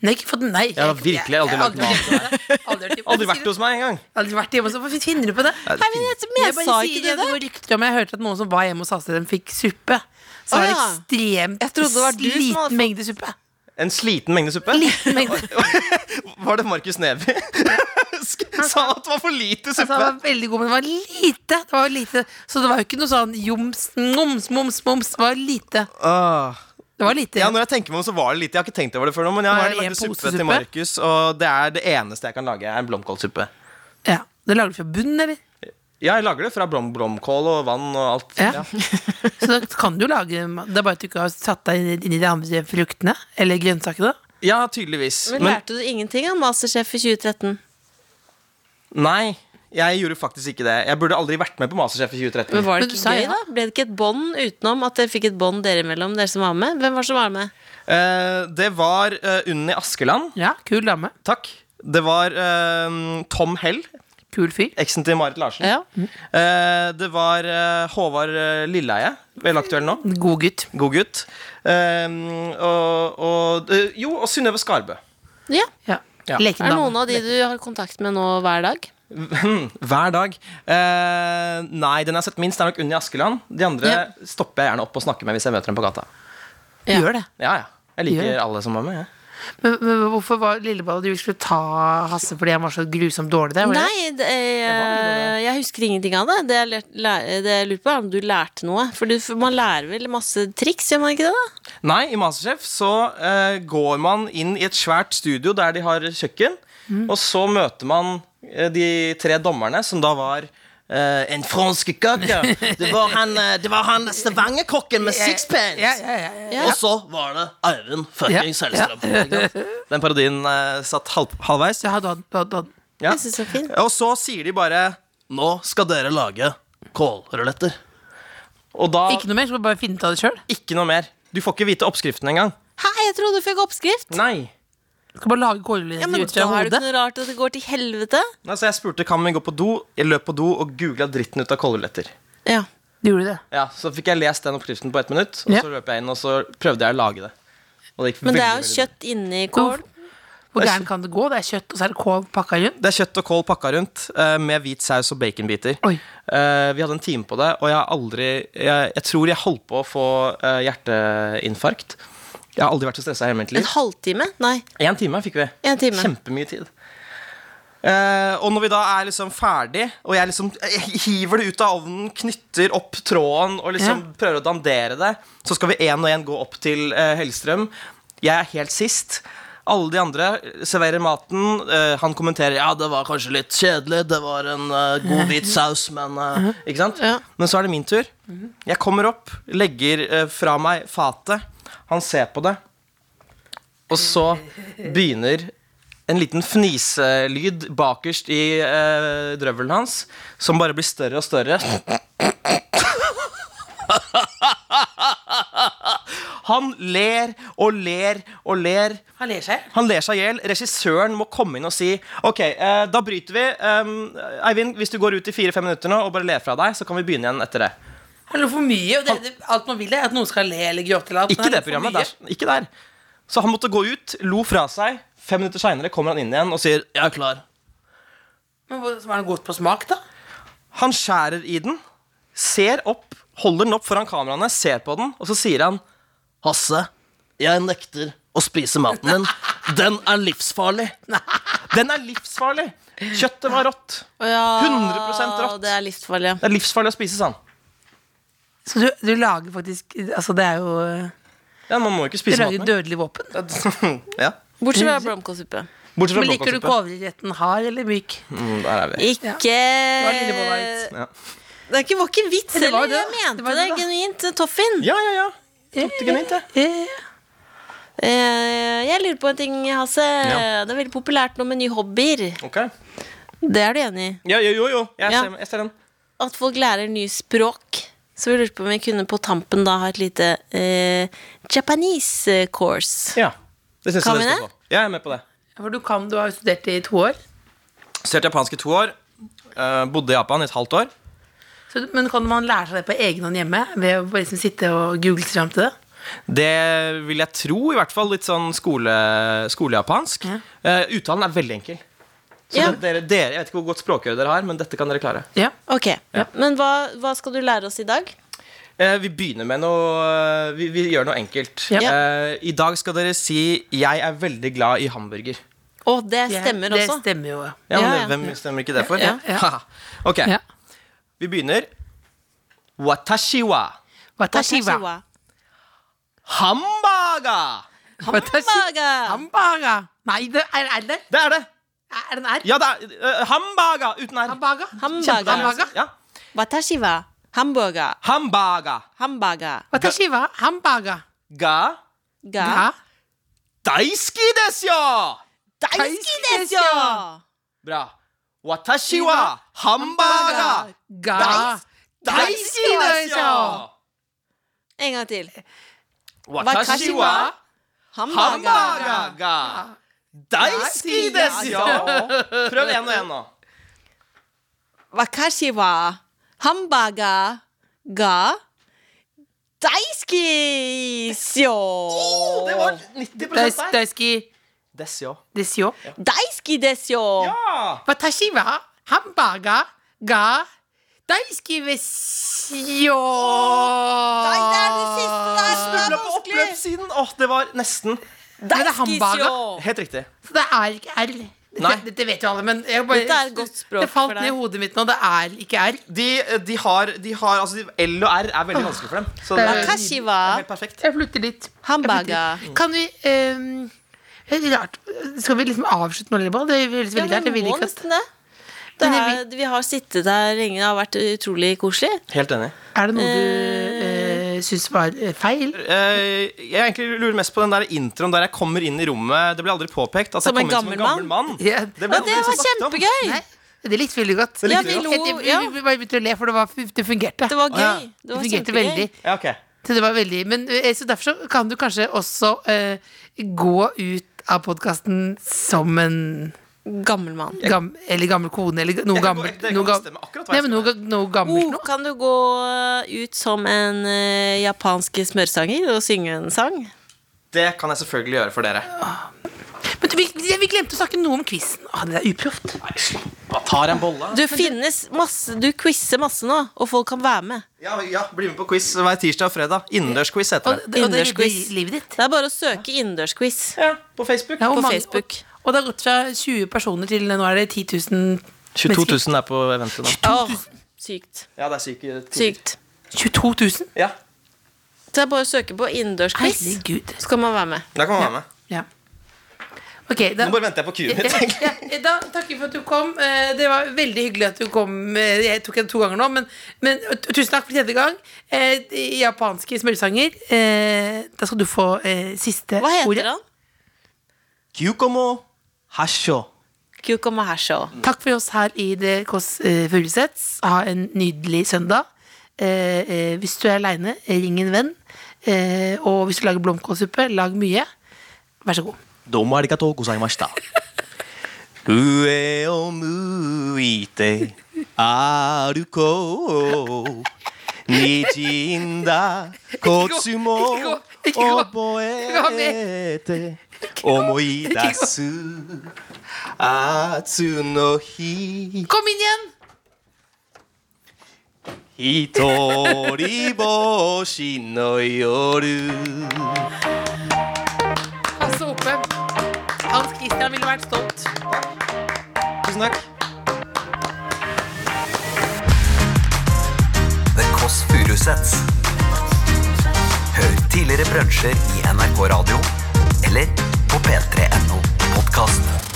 Speaker 3: Nei, ikke fått nei.
Speaker 5: Jeg har virkelig aldri
Speaker 3: mat.
Speaker 5: lagd
Speaker 3: Aldri, vært hjemme.
Speaker 5: Aldri vært hos meg engang.
Speaker 3: Aldri vært hjemme, så hvorfor finner du på det?
Speaker 4: Nei, men jeg, men jeg
Speaker 3: bare
Speaker 4: sa
Speaker 3: sier
Speaker 4: ikke du
Speaker 3: at
Speaker 4: det?
Speaker 3: går rykter om Jeg hørte at noen som var hjemme hos Astrid, de fikk suppe. Så
Speaker 4: Å,
Speaker 3: var det
Speaker 4: ja.
Speaker 3: ekstremt
Speaker 4: Jeg trodde det var du som hadde
Speaker 3: liten
Speaker 4: fått-
Speaker 3: mengde suppe.
Speaker 5: En sliten mengde suppe? Var det Markus Neby? Sk- Sa at det var for lite
Speaker 3: Altså, han
Speaker 5: suppe.
Speaker 3: var veldig god, men det var lite. Det var lite. Så det var jo ikke noe sånn joms, moms, moms, moms. Det var lite.
Speaker 5: Åh.
Speaker 3: Det var lite.
Speaker 5: Ja, når jeg tenker meg om, så var det lite. Jeg har ikke tenkt over det før nå, men jeg
Speaker 3: Var
Speaker 5: har
Speaker 3: det en
Speaker 5: lagd suppe
Speaker 3: posesuppe?
Speaker 5: til Markus, og det er det eneste jeg kan lage, er en blomkålsuppe.
Speaker 3: Ja. Det lager du fra bunnen, eller?
Speaker 5: Ja, jeg lager det fra blom, blomkål og vann og alt.
Speaker 3: Ja. Så da kan du jo lage mat. Det er bare at du ikke har satt deg inn i- inn i de andre fruktene eller grønnsakene.
Speaker 5: Ja, tydeligvis.
Speaker 4: Men lærte du ingenting av Masterchef i 2013?
Speaker 5: nei, jeg gjorde faktisk ikke det. Jeg burde aldri vært med på Masterchef i 2013.
Speaker 4: Men var det
Speaker 3: Men du
Speaker 4: ikke
Speaker 3: sa
Speaker 4: gøy,
Speaker 3: ja.
Speaker 4: da? Ble det ikke et bånd utenom at dere fikk et bånd dere imellom, dere som var med? Hvem var det som var med?
Speaker 5: Eh, det var eh, Unni Askeland.
Speaker 3: Ja, kul dame.
Speaker 5: Takk. Det var eh, Tom Hell,
Speaker 3: Kul fyr.
Speaker 5: eksen til Marit Larsen.
Speaker 4: Ja. Mm.
Speaker 5: Eh, det var eh, Håvard eh, Lilleheie, vel aktuell nå.
Speaker 3: God gutt.
Speaker 5: God gutt. Eh, og, og, eh, jo, og Synnøve Skarbø.
Speaker 4: ja.
Speaker 3: Ja.
Speaker 5: Ja.
Speaker 3: Leken
Speaker 4: Er det
Speaker 3: dame.
Speaker 4: noen av de du har kontakt med nå hver dag?
Speaker 5: Hver dag. Eh, nei, den jeg har sett minst, er nok Unni Askeland. De andre stopper jeg gjerne opp og snakker med hvis jeg møter dem på gata.
Speaker 4: Ja.
Speaker 3: Gjør det.
Speaker 5: Ja, ja. Jeg liker
Speaker 3: Gjør.
Speaker 5: alle som var med. jeg.
Speaker 3: Men, men hvorfor var Lilleball at du skulle ta Hasse fordi han var så grusomt dårlig der? var det?
Speaker 4: Nei, det, eh, jeg husker ingenting av det. Det jeg, lær, lær- det jeg lurer på, er om du lærte noe. For, du, for man lærer vel masse triks, gjør man ikke det? da?
Speaker 5: Nei, i Masterchef så eh, går man inn i et svært studio der de har kjøkken,
Speaker 3: Mm.
Speaker 5: og så møter man eh, de tre dommerne som da var eh, en fransk kake. Det var han, eh, det var han Stavanger-kokken med sixpence.
Speaker 3: Ja, ja, ja, ja.
Speaker 5: Og så var det Eivind fuckings
Speaker 3: Ja, ja.
Speaker 5: Hellstrøm. ikke sant? Den parodien eh, satt halv, halvveis.
Speaker 3: Ja, da, da, da.
Speaker 5: Ja.
Speaker 4: Jeg synes det var fint.
Speaker 5: Og så sier de bare Nå skal dere lage kålruletter. Og da
Speaker 3: Ikke noe mer, skal du bare finne ut av det sjøl?
Speaker 5: ikke noe mer. Du får ikke vite oppskriften engang.
Speaker 4: Hæ, jeg trodde du fikk oppskrift!
Speaker 5: Nei.
Speaker 3: Skal bare lage
Speaker 4: Ja,
Speaker 3: kålruller
Speaker 4: men
Speaker 3: ut fra
Speaker 4: Da er det
Speaker 3: hodet?
Speaker 4: ikke noe rart at det går til helvete.
Speaker 5: Nei, så jeg spurte kan vi gå på do. Jeg løp på do og googla dritten ut av kålruletter.
Speaker 4: Ja.
Speaker 3: Du gjorde det.
Speaker 5: Ja, så fikk jeg lest den oppskriften på ett minutt, og
Speaker 3: Ja.
Speaker 5: så løp jeg inn og så prøvde jeg å lage det. Og det gikk
Speaker 4: Men det
Speaker 5: veldig,
Speaker 4: er jo
Speaker 5: veldig
Speaker 4: kjøtt inni kål.
Speaker 3: Hvor gæren kan det gå? Det er kjøtt, og så er det kål pakka rundt.
Speaker 5: bra. Det er kjøtt og kål pakka rundt eh, med hvit saus og baconbiter.
Speaker 3: Oi.
Speaker 5: Eh, vi hadde en time på det, og jeg har aldri Jeg, jeg tror jeg holdt på å få eh, hjerteinfarkt. Jeg har aldri vært så stressa i hele mitt liv.
Speaker 4: En halvtime? Nei.
Speaker 5: Én time fikk vi.
Speaker 4: En time.
Speaker 5: Kjempemye tid. Eh, og når vi da er liksom ferdig, og jeg liksom eh, hiver det ut av ovnen, knytter opp tråden og liksom
Speaker 3: Ja.
Speaker 5: prøver å dandere det, så skal vi én og én gå opp til eh, Hellstrøm. Jeg er helt sist. Alle de andre serverer maten. eh, han kommenterer ja, det var kanskje litt kjedelig, det var en eh, god hvit saus, men eh, Ikke sant?
Speaker 4: Ja.
Speaker 5: Men så er det min tur. Jeg kommer opp, legger eh, fra meg fatet. Han ser på det. Og så begynner en liten fniselyd bakerst i eh, drøvelen hans, som bare blir større og større. Han ler og ler og ler.
Speaker 3: Han ler seg.
Speaker 5: Han ler seg i hjel. Regissøren må komme inn og si Ok, eh, da bryter vi. Eh, Eivind, hvis du går ut i fire-fem minutter nå og bare ler fra deg, så kan vi begynne igjen etter det.
Speaker 3: Han lo for mye. Og det, det, alt man vil, er at noen skal le eller gråte. Eller alt.
Speaker 5: Ikke
Speaker 3: Han lo
Speaker 5: det
Speaker 3: for
Speaker 5: programmet.
Speaker 3: mye.
Speaker 5: Der, ikke der. Så han måtte gå ut, lo fra seg. Fem minutter seinere kommer han inn igjen og sier 'Jeg er klar'.
Speaker 3: Men hvor- så var han godt på smak, da?
Speaker 5: Han skjærer i den, ser opp, holder den opp foran kameraene, ser på den, og så sier han Hasse, jeg nekter å spise maten din. Den er livsfarlig. Den er livsfarlig! Kjøttet var rått.
Speaker 4: Ja,
Speaker 5: 100% rått.
Speaker 4: Det er livsfarlig. ja.
Speaker 5: Det er livsfarlig å spise, sa han.
Speaker 3: Så du, du lager faktisk Altså, det er jo eh,
Speaker 5: Ja, man må jo ikke
Speaker 3: Du
Speaker 5: spise
Speaker 3: lager
Speaker 5: maten.
Speaker 3: dødelig våpen.
Speaker 5: min. ja.
Speaker 4: Bortsett fra blomkålsuppe.
Speaker 5: Bortsett fra
Speaker 3: Men liker du
Speaker 5: blomkålsuppe.
Speaker 3: kålretten hard eller myk?
Speaker 5: Mm, der er vi.
Speaker 4: Ikke
Speaker 3: var Lillebolla-vits.
Speaker 5: Ja.
Speaker 4: Det er ikke, var ikke vits
Speaker 3: Det var
Speaker 4: heller.
Speaker 3: det, da.
Speaker 4: Jeg
Speaker 3: Det
Speaker 4: mente
Speaker 3: var
Speaker 4: det,
Speaker 3: det, da.
Speaker 4: genuint. eh, Toffin.
Speaker 5: ja, ja, ja. Tok det genuint, jeg.
Speaker 3: Eh,
Speaker 4: Eh, jeg lurer på en ting, Hasse.
Speaker 5: Ja.
Speaker 4: Det er veldig populært nå med nye hobbyer.
Speaker 5: Ok.
Speaker 4: Det er du enig i?
Speaker 5: Ja, jo, jo, jo. Jeg,
Speaker 4: Ja.
Speaker 5: ser, jeg ser den.
Speaker 4: At folk lærer nye språk. Så vi lurte på om vi kunne på tampen da ha et lite eh, Japanese eh, course.
Speaker 5: Ja. Det syns
Speaker 4: Kan
Speaker 5: jeg
Speaker 4: vi
Speaker 5: dere
Speaker 4: det?
Speaker 5: skal få. Jeg er med på det.
Speaker 3: For du kan, du har jo studert det i to år.
Speaker 5: Studerte japansk i to år. eh, bodde i Japan i et halvt år.
Speaker 3: Så, du- men kan man lære seg det på egen hånd hjemme? Ved å bare liksom sitte og google seg fram til det?
Speaker 5: Det vil jeg tro, i hvert fall litt sånn skole, skolejapansk.
Speaker 3: Ja.
Speaker 5: Eh, uttalen er veldig enkel. Så
Speaker 4: Ja.
Speaker 5: det, dere, dere, Jeg vet ikke hvor godt språkøre dere har, men dette kan dere klare.
Speaker 3: Ja.
Speaker 4: Ok, Men hva, hva skal du lære oss i dag?
Speaker 5: Eh, vi begynner med noe eh, Vi, vi gjør noe enkelt.
Speaker 3: Ja.
Speaker 5: Eh, I dag skal dere si 'Jeg er veldig glad i hamburger'.
Speaker 4: Å, det stemmer
Speaker 3: det
Speaker 4: også.
Speaker 3: stemmer jo.
Speaker 5: Ja, men
Speaker 4: Ja, ja.
Speaker 5: Hvem stemmer ikke det for?
Speaker 4: Ja,
Speaker 3: ja.
Speaker 5: Haha. ok,
Speaker 1: Ja.
Speaker 5: vi begynner. Watashi wa
Speaker 3: Watashiwa.
Speaker 5: hambaga.
Speaker 4: Hambaga.
Speaker 3: Hambaga. Nei, det er, er det
Speaker 5: Det er det.
Speaker 3: Er det en R?
Speaker 5: Ja, det er eh, hambaga uten r.
Speaker 3: Hambaga.
Speaker 4: Hambaga.
Speaker 3: Hambaga.
Speaker 5: Ja.
Speaker 4: Watashi wa hamburger.
Speaker 5: Hambaga.
Speaker 4: Hamburger.
Speaker 3: Watashi wa hambaga.
Speaker 5: Ga
Speaker 4: Ga.
Speaker 3: Ja.
Speaker 5: daiski desu yo!
Speaker 4: Daisuki
Speaker 3: Daisuki
Speaker 4: desu yo!
Speaker 3: desu
Speaker 5: Bra. Watashi wa hambaga.
Speaker 3: Ga.
Speaker 5: Ah. Daiski desu yo!
Speaker 4: En gang til.
Speaker 5: Watashi wa
Speaker 4: Hamburger.
Speaker 5: hambaga ga daiski desu yo! Prøv en og en nå.
Speaker 4: Wakashi wa hamburger ga daisuki desu yo!
Speaker 5: Det var 90
Speaker 3: Dais-
Speaker 5: der.
Speaker 3: Daisuki
Speaker 5: Desu yo.
Speaker 3: desyo.
Speaker 4: Daisuki desu yo!
Speaker 5: Ja!
Speaker 3: Watashi wa hambaga ga daisuki desyo.
Speaker 4: Nei, det er det siste der som er
Speaker 5: Snubla på
Speaker 4: vanskelig!
Speaker 5: oppløpssiden. Åh, det var nesten.
Speaker 3: Men det er hamburger.
Speaker 5: Helt riktig.
Speaker 3: Så det er ikke R. Dette-
Speaker 5: Nei.
Speaker 3: Dette vet jo alle, men jeg bare,
Speaker 4: Dette er et godt språk
Speaker 3: det falt
Speaker 4: for deg.
Speaker 3: ned i hodet mitt nå. Det er ikke R.
Speaker 5: De, eh, de, har, de har Altså, de- L og R er veldig vanskelig for dem. Så det er
Speaker 4: Wakashi wa
Speaker 5: helt perfekt.
Speaker 3: Jeg flytter litt.
Speaker 4: hamburger. Mm.
Speaker 3: Kan vi ehm, det er Rart. Skal vi liksom avslutte nå, Lilleboll? Det høres veldig rart Jeg vil ikke at
Speaker 4: det. Det
Speaker 3: Men jeg
Speaker 4: er, vi har sittet der lenge, det har vært utrolig koselig.
Speaker 5: Helt enig.
Speaker 3: Er det noe du uh, syns var eh, feil?
Speaker 5: Eh, jeg egentlig lurer mest på den der introen der jeg kommer inn i rommet. Det ble aldri påpekt at
Speaker 4: Som
Speaker 5: jeg
Speaker 4: en
Speaker 5: kom inn som en
Speaker 4: gammel
Speaker 5: gammel mann.
Speaker 3: Ja.
Speaker 5: ble
Speaker 4: Og
Speaker 5: aldri
Speaker 4: det
Speaker 5: liksom
Speaker 4: var
Speaker 5: snakket om.
Speaker 4: kjempegøy!
Speaker 3: Nei, det likte vi veldig godt.
Speaker 5: Det
Speaker 4: Ja,
Speaker 5: likte
Speaker 4: vi
Speaker 5: vi
Speaker 4: lo,
Speaker 5: godt.
Speaker 3: Jeg-
Speaker 4: ja.
Speaker 3: Vi vi bare begynte å le, for det, var, det fungerte.
Speaker 4: Det var
Speaker 5: Ja.
Speaker 4: gøy. Det var
Speaker 3: fungerte
Speaker 4: kjempegøy.
Speaker 3: veldig.
Speaker 5: Ja, ok.
Speaker 3: Så det var veldig Men eh, så derfor så kan du kanskje også eh, gå ut av podkasten som en
Speaker 4: Gammel mann.
Speaker 3: gam, Eller gammel kone, eller noe
Speaker 5: Jeg kan gå-
Speaker 3: gammelt.
Speaker 5: dere kan
Speaker 3: Noe, gam,
Speaker 5: bestemme akkurat hva
Speaker 3: nei,
Speaker 5: jeg
Speaker 3: men
Speaker 5: skal
Speaker 3: noe, noe gammelt nå.
Speaker 4: Oh, kan du gå ut som en eh, japansk smørsanger og synge en sang?
Speaker 5: Det kan jeg selvfølgelig gjøre for dere.
Speaker 3: Men du, vi, vi glemte å snakke noe om quizen. Å, det er uproft.
Speaker 5: Hva tar en bolle?
Speaker 4: Du finnes masse, du quizer masse nå, og folk kan være med.
Speaker 5: Ja, ja, Bli med på quiz hver tirsdag og fredag. Innendørsquiz heter
Speaker 3: Og,
Speaker 5: det.
Speaker 3: det- og det redder
Speaker 4: Innendørsquiz.
Speaker 3: livet ditt.
Speaker 4: Det er bare å søke innendørsquiz.
Speaker 5: Ja, På Facebook.
Speaker 3: Ja, hvor
Speaker 4: På
Speaker 3: mange-
Speaker 4: Facebook.
Speaker 3: Og, og det har gått fra 20 personer til nå er det 10 000
Speaker 5: 22 000 er på eventet nå.
Speaker 4: Åh, sykt.
Speaker 5: Ja, det er syke tider.
Speaker 4: Sykt.
Speaker 3: 22 000?
Speaker 5: Ja,
Speaker 4: Så det er bare å søke på innendørsquiz,
Speaker 3: Herregud.
Speaker 4: så kan man være med.
Speaker 5: Da kan man være med.
Speaker 3: Ja. Ok, da,
Speaker 5: Nå bare venter jeg på kuet mitt. egentlig.
Speaker 3: ja, ja, da takker vi for at du kom. Eh, Det var veldig hyggelig at du kom. eh, Jeg tok det to ganger nå, men, men t- tusen takk for tredje gang. Eh, Japanske smørsanger. eh, Da skal du få eh, siste
Speaker 4: Hva
Speaker 3: ordet.
Speaker 4: heter han?
Speaker 5: Kyukomo hasho.
Speaker 4: Kyukoma Hasho.
Speaker 3: Takk for oss her i Det Kåss eh, Furuseths. Ha en nydelig søndag. Eh, eh, hvis du er aleine, ring en venn. Eh, og hvis du lager blomkålsuppe, lag mye. Vær så god.
Speaker 5: どうもありがとうございました。上を向いて歩こう。にじんだコツも覚えて思い出す暑の日
Speaker 3: Kom inn igjen!
Speaker 5: 一人ぼっしの夜
Speaker 3: Hasse Hope. Hans Christian ville vært stolt.
Speaker 5: Tusen takk.
Speaker 2: The Kåss Furuseths. Hør tidligere brunsjer i NRK Radio eller på p3.no podkast.